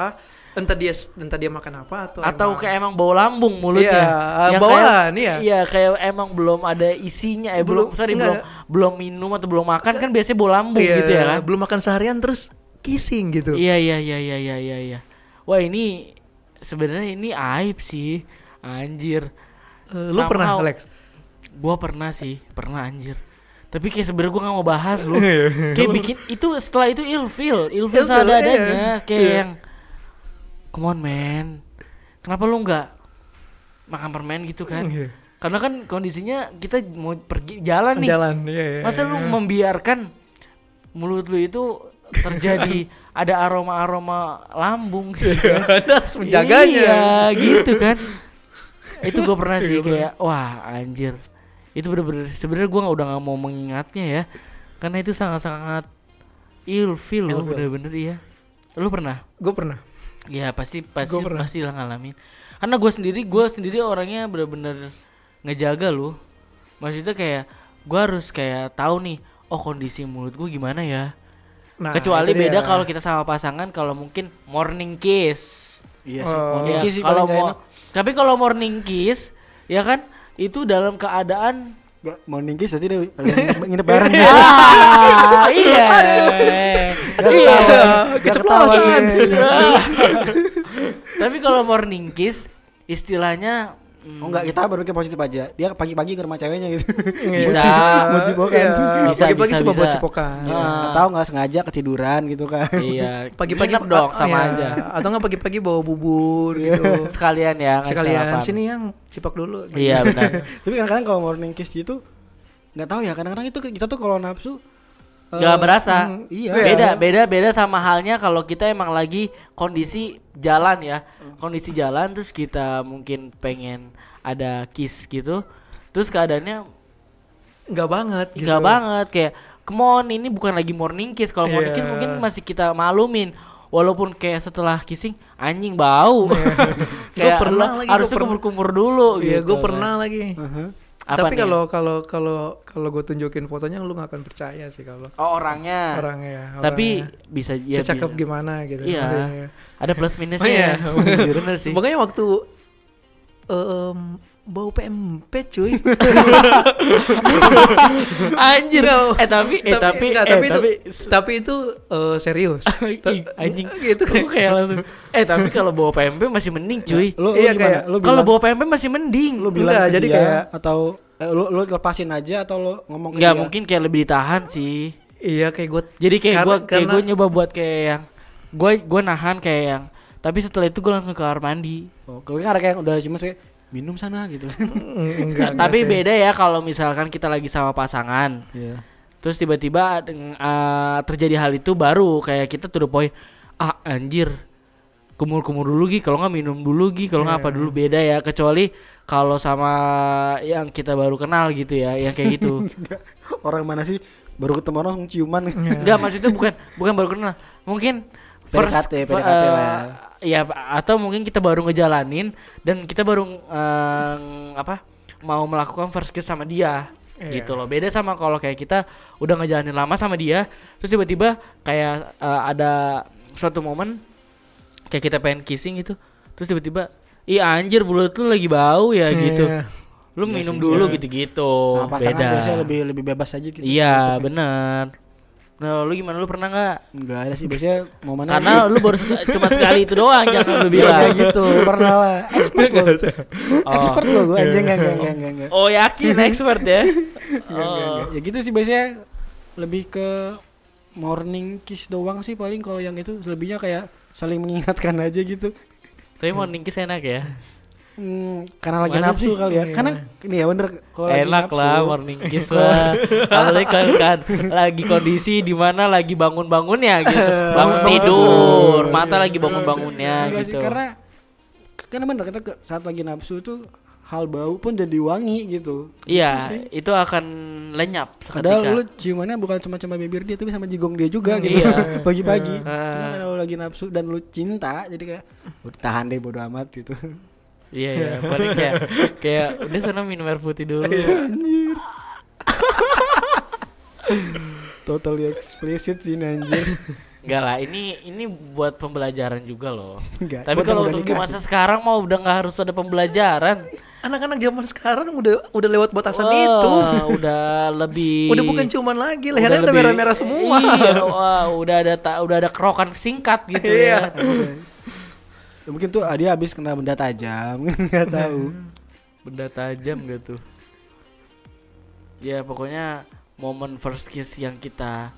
[SPEAKER 1] entah dia entah dia makan apa atau
[SPEAKER 3] atau
[SPEAKER 1] emang-
[SPEAKER 3] kayak emang bau lambung mulutnya
[SPEAKER 1] ya. Iya,
[SPEAKER 3] Yang
[SPEAKER 1] bawaan,
[SPEAKER 3] kayak,
[SPEAKER 1] iya.
[SPEAKER 3] iya kayak emang belum ada isinya eh belum,
[SPEAKER 1] Belum-
[SPEAKER 3] sorry
[SPEAKER 1] enggak.
[SPEAKER 3] belum belum minum atau belum makan kan biasanya bau lambung
[SPEAKER 1] Iya,
[SPEAKER 3] gitu ya kan
[SPEAKER 1] belum makan seharian terus kissing gitu
[SPEAKER 3] iya iya iya iya iya iya iya wah ini sebenarnya ini aib sih anjir
[SPEAKER 1] Eh, lu pernah
[SPEAKER 3] Somehow-
[SPEAKER 1] Alex
[SPEAKER 3] gua pernah sih pernah anjir tapi kayak sebenernya gua gak mau bahas lu
[SPEAKER 1] Iya.
[SPEAKER 3] kayak bikin itu setelah itu ilfil ilfil
[SPEAKER 1] Ilfil, iya.
[SPEAKER 3] seada adanya kayak
[SPEAKER 1] Iya.
[SPEAKER 3] yang come on man kenapa lu nggak makan permen gitu kan
[SPEAKER 1] Iya.
[SPEAKER 3] karena kan kondisinya kita mau pergi jalan Kan nih
[SPEAKER 1] jalan iya, iya,
[SPEAKER 3] masa lu membiarkan mulut lu itu terjadi ada aroma aroma lambung gitu kan?
[SPEAKER 1] Anda Iya, harus menjaganya
[SPEAKER 3] Iya, gitu kan. itu gue pernah sih
[SPEAKER 1] Iya,
[SPEAKER 3] kayak wah anjir. Itu bener-bener sebenarnya gue udah nggak mau mengingatnya ya. Karena itu sangat-sangat ilfil loh
[SPEAKER 1] Ilfil.
[SPEAKER 3] bener-bener ya. Lu pernah?
[SPEAKER 1] gue pernah
[SPEAKER 3] Ya pasti pasti
[SPEAKER 1] Gua pernah.
[SPEAKER 3] pasti lah ngalamin. Karena gue sendiri gue sendiri orangnya bener-bener ngejaga lu. Maksudnya kayak gue harus kayak tahu nih oh kondisi mulut gue gimana ya.
[SPEAKER 1] Nah,
[SPEAKER 3] Kecuali
[SPEAKER 1] itu dia.
[SPEAKER 3] beda kalau kita sama pasangan kalau mungkin morning kiss.
[SPEAKER 2] Iya sih.
[SPEAKER 1] Oh.
[SPEAKER 2] Oh,
[SPEAKER 3] Iya,
[SPEAKER 2] sih paling
[SPEAKER 3] kalau
[SPEAKER 2] nggak
[SPEAKER 3] mau,
[SPEAKER 2] enak.
[SPEAKER 3] tapi kalau morning kiss, ya kan itu dalam keadaan
[SPEAKER 2] Nggak, mau ningkis berarti dia harus nginep bareng ya.
[SPEAKER 3] Iya. ah iya iya
[SPEAKER 1] Iya,
[SPEAKER 2] Nggak
[SPEAKER 1] keceplosan.
[SPEAKER 2] ketahuan, iya, iya.
[SPEAKER 3] tapi kalau morning kiss istilahnya
[SPEAKER 2] Oh enggak, kita berpikir positif aja. Dia pagi-pagi ke rumah ceweknya gitu.
[SPEAKER 3] Bisa.
[SPEAKER 2] Mau cipokan.
[SPEAKER 1] Iya,
[SPEAKER 3] Bisa,
[SPEAKER 1] pagi-pagi
[SPEAKER 3] bisa,
[SPEAKER 1] coba buat
[SPEAKER 3] bisa.
[SPEAKER 1] cipokan.
[SPEAKER 2] Iya, nggak tahu nggak sengaja ketiduran gitu kan.
[SPEAKER 3] iya
[SPEAKER 1] Pagi-pagi
[SPEAKER 3] Nginep dong sama
[SPEAKER 1] Iya.
[SPEAKER 3] aja Iya.
[SPEAKER 1] Atau nggak pagi-pagi bawa bubur gitu.
[SPEAKER 3] sekalian ya ngasih
[SPEAKER 1] Sekalian
[SPEAKER 3] sarapan.
[SPEAKER 1] sini yang cipak dulu. gitu.
[SPEAKER 3] iya benar
[SPEAKER 2] Tapi kadang-kadang kalau morning kiss gitu nggak tahu ya, kadang-kadang itu kita tuh kalau nafsu eh,
[SPEAKER 3] Gak berasa.
[SPEAKER 2] iya.
[SPEAKER 3] Beda, beda, beda sama halnya kalau kita emang lagi kondisi jalan ya,
[SPEAKER 1] Hmm.
[SPEAKER 3] kondisi jalan terus kita mungkin pengen ada kiss gitu, terus keadaannya
[SPEAKER 1] Nggak banget. gitu.
[SPEAKER 3] enggak banget kayak, come on ini bukan lagi morning kiss. Kalau morning kiss
[SPEAKER 1] Iya.
[SPEAKER 3] mungkin masih kita malumin. Walaupun kayak setelah kissing anjing bau. kayak
[SPEAKER 1] Iya. Gua pernah
[SPEAKER 3] lo
[SPEAKER 1] lagi, gua
[SPEAKER 3] harusnya
[SPEAKER 1] pernah.
[SPEAKER 3] kumur-kumur dulu
[SPEAKER 1] Iya,
[SPEAKER 3] gitu
[SPEAKER 1] gue
[SPEAKER 3] kan.
[SPEAKER 1] pernah lagi.
[SPEAKER 3] Apa
[SPEAKER 1] Tapi
[SPEAKER 3] nih?
[SPEAKER 1] kalau kalau kalau kalau gue tunjukin fotonya lu nggak akan percaya sih kalau
[SPEAKER 3] oh, orangnya.
[SPEAKER 1] orangnya.
[SPEAKER 3] Tapi
[SPEAKER 1] orangnya.
[SPEAKER 3] bisa ya,
[SPEAKER 1] secakep
[SPEAKER 3] bi-
[SPEAKER 1] gimana gitu.
[SPEAKER 3] Iya.
[SPEAKER 1] maksudnya.
[SPEAKER 3] Ada plus minusnya
[SPEAKER 1] Oh, iya.
[SPEAKER 3] ya. Bener sih.
[SPEAKER 1] Makanya waktu em, bau PMP cuy.
[SPEAKER 3] Anjir.
[SPEAKER 1] Nggak.
[SPEAKER 3] Eh tapi eh tapi
[SPEAKER 1] enggak,
[SPEAKER 3] eh,
[SPEAKER 1] tapi, itu,
[SPEAKER 3] tapi
[SPEAKER 1] tapi itu eh, serius.
[SPEAKER 3] Ih, anjing
[SPEAKER 1] gitu
[SPEAKER 3] Gua kayak langsung. Eh tapi kalau bawa PMP masih mending cuy.
[SPEAKER 2] Lu, lu
[SPEAKER 1] Iya,
[SPEAKER 2] gimana?
[SPEAKER 1] kayak-
[SPEAKER 2] Lu
[SPEAKER 3] Kalau
[SPEAKER 2] bilang-
[SPEAKER 3] bawa PMP masih mending.
[SPEAKER 2] lu bilang
[SPEAKER 1] Enggak,
[SPEAKER 2] ke
[SPEAKER 1] jadi
[SPEAKER 2] dia
[SPEAKER 1] kayak-
[SPEAKER 2] atau eh, lu lu lepasin aja atau lu ngomong ke
[SPEAKER 1] gitu
[SPEAKER 3] Enggak
[SPEAKER 2] dia?
[SPEAKER 1] ya.
[SPEAKER 3] mungkin kayak lebih ditahan sih.
[SPEAKER 1] Iya kayak gue.
[SPEAKER 3] Jadi kayak
[SPEAKER 1] Karena-
[SPEAKER 3] gua kayak
[SPEAKER 1] karena-
[SPEAKER 3] gua nyoba buat kayak yang gua gua nahan kayak yang tapi setelah itu gua langsung ke kamar mandi.
[SPEAKER 2] Oh, kalau kan ada kayak udah cuma kayak minum sana gitu.
[SPEAKER 1] Enggak, enggak
[SPEAKER 3] tapi
[SPEAKER 1] Iya, sih.
[SPEAKER 3] beda ya kalau misalkan kita lagi sama pasangan.
[SPEAKER 2] Iya.
[SPEAKER 3] Terus tiba-tiba deng- eh, terjadi hal itu baru kayak kita tuh the point ah anjir kumur-kumur dulu Gi kalau nggak minum dulu Gi kalau nggak apa dulu beda ya kecuali kalau sama yang kita baru kenal gitu ya yang kayak gitu
[SPEAKER 2] Orang mana sih baru ketemu orang langsung ciuman.
[SPEAKER 1] Iya.
[SPEAKER 3] nggak maksudnya bukan bukan baru kenal mungkin first
[SPEAKER 2] PDKT,
[SPEAKER 3] fir-
[SPEAKER 2] PDKT
[SPEAKER 3] eh,
[SPEAKER 2] lah.
[SPEAKER 3] ya atau mungkin kita baru ngejalanin dan kita baru eh, apa mau melakukan first kiss sama dia
[SPEAKER 1] Iya.
[SPEAKER 3] gitu loh beda sama kalau kayak kita udah ngejalanin lama sama dia terus tiba-tiba kayak eh, ada suatu momen kayak kita pengen kissing gitu terus tiba-tiba Ih anjir mulut lu lagi bau ya gitu.
[SPEAKER 1] Iya.
[SPEAKER 3] Lu minum dulu gitu-gitu.
[SPEAKER 2] iya Sama pasangan biasanya
[SPEAKER 3] Oh, Beda.
[SPEAKER 2] lebih lebih bebas aja gitu.
[SPEAKER 3] Iya bener Nah lu gimana lu pernah nggak?
[SPEAKER 2] Enggak ada sih biasanya mau mana
[SPEAKER 3] Karena lu baru sek- cuma sekali itu doang jangan lu
[SPEAKER 2] kayak
[SPEAKER 3] bilang.
[SPEAKER 2] gitu pernah lah expert lo
[SPEAKER 3] Oh,
[SPEAKER 2] expert lo gue aja enggak enggak enggak enggak enggak
[SPEAKER 3] oh yakin expert
[SPEAKER 2] Iya,
[SPEAKER 3] ya? Oh.
[SPEAKER 2] Enggak, enggak, enggak. ya gitu sih biasanya lebih ke morning kiss doang sih paling kalau yang itu selebihnya kayak saling mengingatkan aja gitu
[SPEAKER 3] Tapi morning kiss enak ya?
[SPEAKER 2] Hmm, karena lagi
[SPEAKER 3] Masa
[SPEAKER 2] nafsu
[SPEAKER 3] sih? Iya.
[SPEAKER 2] kali ya karena ini ya bener kalau lagi
[SPEAKER 3] enak
[SPEAKER 2] nafsu,
[SPEAKER 3] lah morning kiss lah. Apalagi kan, kan lagi kondisi di mana lagi bangun-bangunnya gitu. Bangun
[SPEAKER 2] Bangun-bangun. Iya,
[SPEAKER 3] tidur, mata lagi bangun-bangunnya
[SPEAKER 2] Enggak Iya, sih,
[SPEAKER 3] gitu.
[SPEAKER 2] karena karena bener kita ke- saat lagi nafsu tuh hal bau pun jadi wangi gitu Gitu
[SPEAKER 3] Iya,
[SPEAKER 2] sih.
[SPEAKER 3] itu akan lenyap
[SPEAKER 2] Padahal lu
[SPEAKER 3] seketika.
[SPEAKER 2] ciumannya bukan cuma cuma bibir dia tapi sama jigong dia juga gitu
[SPEAKER 3] Iya.
[SPEAKER 2] pagi-pagi.
[SPEAKER 3] Ah.
[SPEAKER 2] Cuma karena lu lagi nafsu dan lu cinta jadi kayak udah tahan deh bodo amat gitu.
[SPEAKER 3] Iya, iya, paling kayak kayak udah sana minum air putih dulu.
[SPEAKER 2] Iya. anjir. Totally explicit sih ini, anjir.
[SPEAKER 3] Enggak lah, ini ini buat pembelajaran juga loh.
[SPEAKER 2] Enggak.
[SPEAKER 3] Tapi
[SPEAKER 2] Iya. buat yang
[SPEAKER 3] kalau
[SPEAKER 2] udah
[SPEAKER 3] untuk di
[SPEAKER 2] nikah
[SPEAKER 3] masa sekarang mau udah nggak harus ada pembelajaran.
[SPEAKER 1] Anak-anak zaman sekarang udah udah lewat batasan
[SPEAKER 3] Wah,
[SPEAKER 1] itu.
[SPEAKER 3] udah lebih
[SPEAKER 1] Udah bukan cuman lagi, lehernya udah,
[SPEAKER 3] lebih-
[SPEAKER 1] merah-merah semua.
[SPEAKER 3] Iya, wah, udah ada ta- udah ada kerokan singkat gitu ya.
[SPEAKER 2] sih. Iya. Ya, Mungkin tuh ah, dia habis kena benda tajam, nggak tahu.
[SPEAKER 3] Hmm. Benda tajam gitu. Ya pokoknya momen first kiss yang kita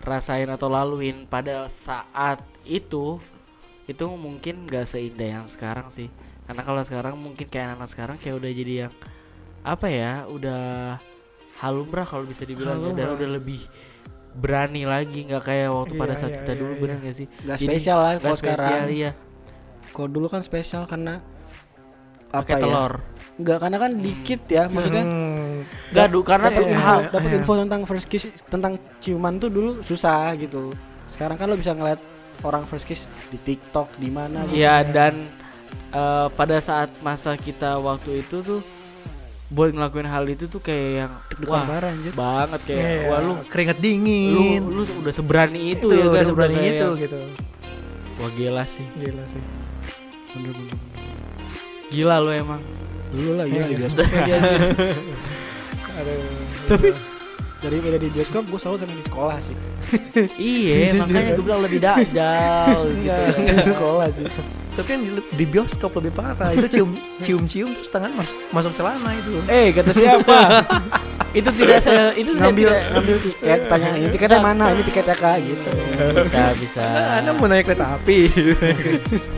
[SPEAKER 3] rasain atau laluin pada saat itu itu mungkin gak seindah yang sekarang sih. Karena kalau sekarang mungkin kayak anak sekarang kayak udah jadi yang apa ya, udah halumrah kalau bisa dibilang ya, dan
[SPEAKER 1] Halumrah.
[SPEAKER 3] udah lebih berani lagi nggak kayak waktu pada
[SPEAKER 1] Iya,
[SPEAKER 3] saat
[SPEAKER 1] iya,
[SPEAKER 3] kita
[SPEAKER 1] iya,
[SPEAKER 3] dulu
[SPEAKER 1] iya.
[SPEAKER 3] bener gak sih?
[SPEAKER 2] Gak
[SPEAKER 3] Jadi,
[SPEAKER 2] spesial lah
[SPEAKER 3] nggak
[SPEAKER 2] kalau
[SPEAKER 3] spesial,
[SPEAKER 2] sekarang.
[SPEAKER 3] iya.
[SPEAKER 2] Kalau dulu kan spesial karena
[SPEAKER 3] Pakai
[SPEAKER 2] apa ya?
[SPEAKER 3] telur. Iya,
[SPEAKER 2] Enggak, karena kan dikit ya maksudnya.
[SPEAKER 1] Hmm.
[SPEAKER 3] Gaduh karena
[SPEAKER 2] dapat
[SPEAKER 3] tuh
[SPEAKER 2] info,
[SPEAKER 3] hal
[SPEAKER 2] dapat info tentang first kiss tentang ciuman tuh dulu susah gitu. Sekarang kan lo bisa ngeliat orang first kiss di TikTok di mana gitu.
[SPEAKER 3] Ya dan eh, pada saat masa kita waktu itu tuh buat ngelakuin hal itu tuh kayak yang
[SPEAKER 2] Deg-degan
[SPEAKER 3] wah
[SPEAKER 2] bareng, anjir.
[SPEAKER 3] banget kayak
[SPEAKER 1] Iya,
[SPEAKER 3] wah lu
[SPEAKER 1] keringet
[SPEAKER 3] lu
[SPEAKER 1] dingin.
[SPEAKER 3] lu udah seberani itu,
[SPEAKER 1] itu
[SPEAKER 3] ya kan
[SPEAKER 1] udah seberani
[SPEAKER 3] kayak
[SPEAKER 1] itu
[SPEAKER 3] yang,
[SPEAKER 1] gitu.
[SPEAKER 3] wah gila sih
[SPEAKER 1] Gila sih.
[SPEAKER 2] Bener, bener.
[SPEAKER 3] gila lu emang
[SPEAKER 2] Dulu lah
[SPEAKER 1] Iya.
[SPEAKER 2] gila di bioskop kan lagi anjir.
[SPEAKER 1] Aduh.
[SPEAKER 2] Tapi daripada di bioskop gue selalu sama di sekolah sih. Iya,
[SPEAKER 3] iya makanya gue bilang lebih dajal gitu
[SPEAKER 1] Iya.
[SPEAKER 2] Di sekolah sih.
[SPEAKER 1] tapi yang di, di bioskop lebih parah itu cium cium cium terus tangan mas- masuk celana itu
[SPEAKER 3] Eh kata siapa? itu tidak saya itu saya
[SPEAKER 2] ngambil
[SPEAKER 3] tidak-
[SPEAKER 2] ngambil tiket tanya ini
[SPEAKER 3] Iya.
[SPEAKER 2] tiketnya mana ini tiketnya kak gitu
[SPEAKER 3] bisa bisa.
[SPEAKER 1] Nah, anda mau naik kereta api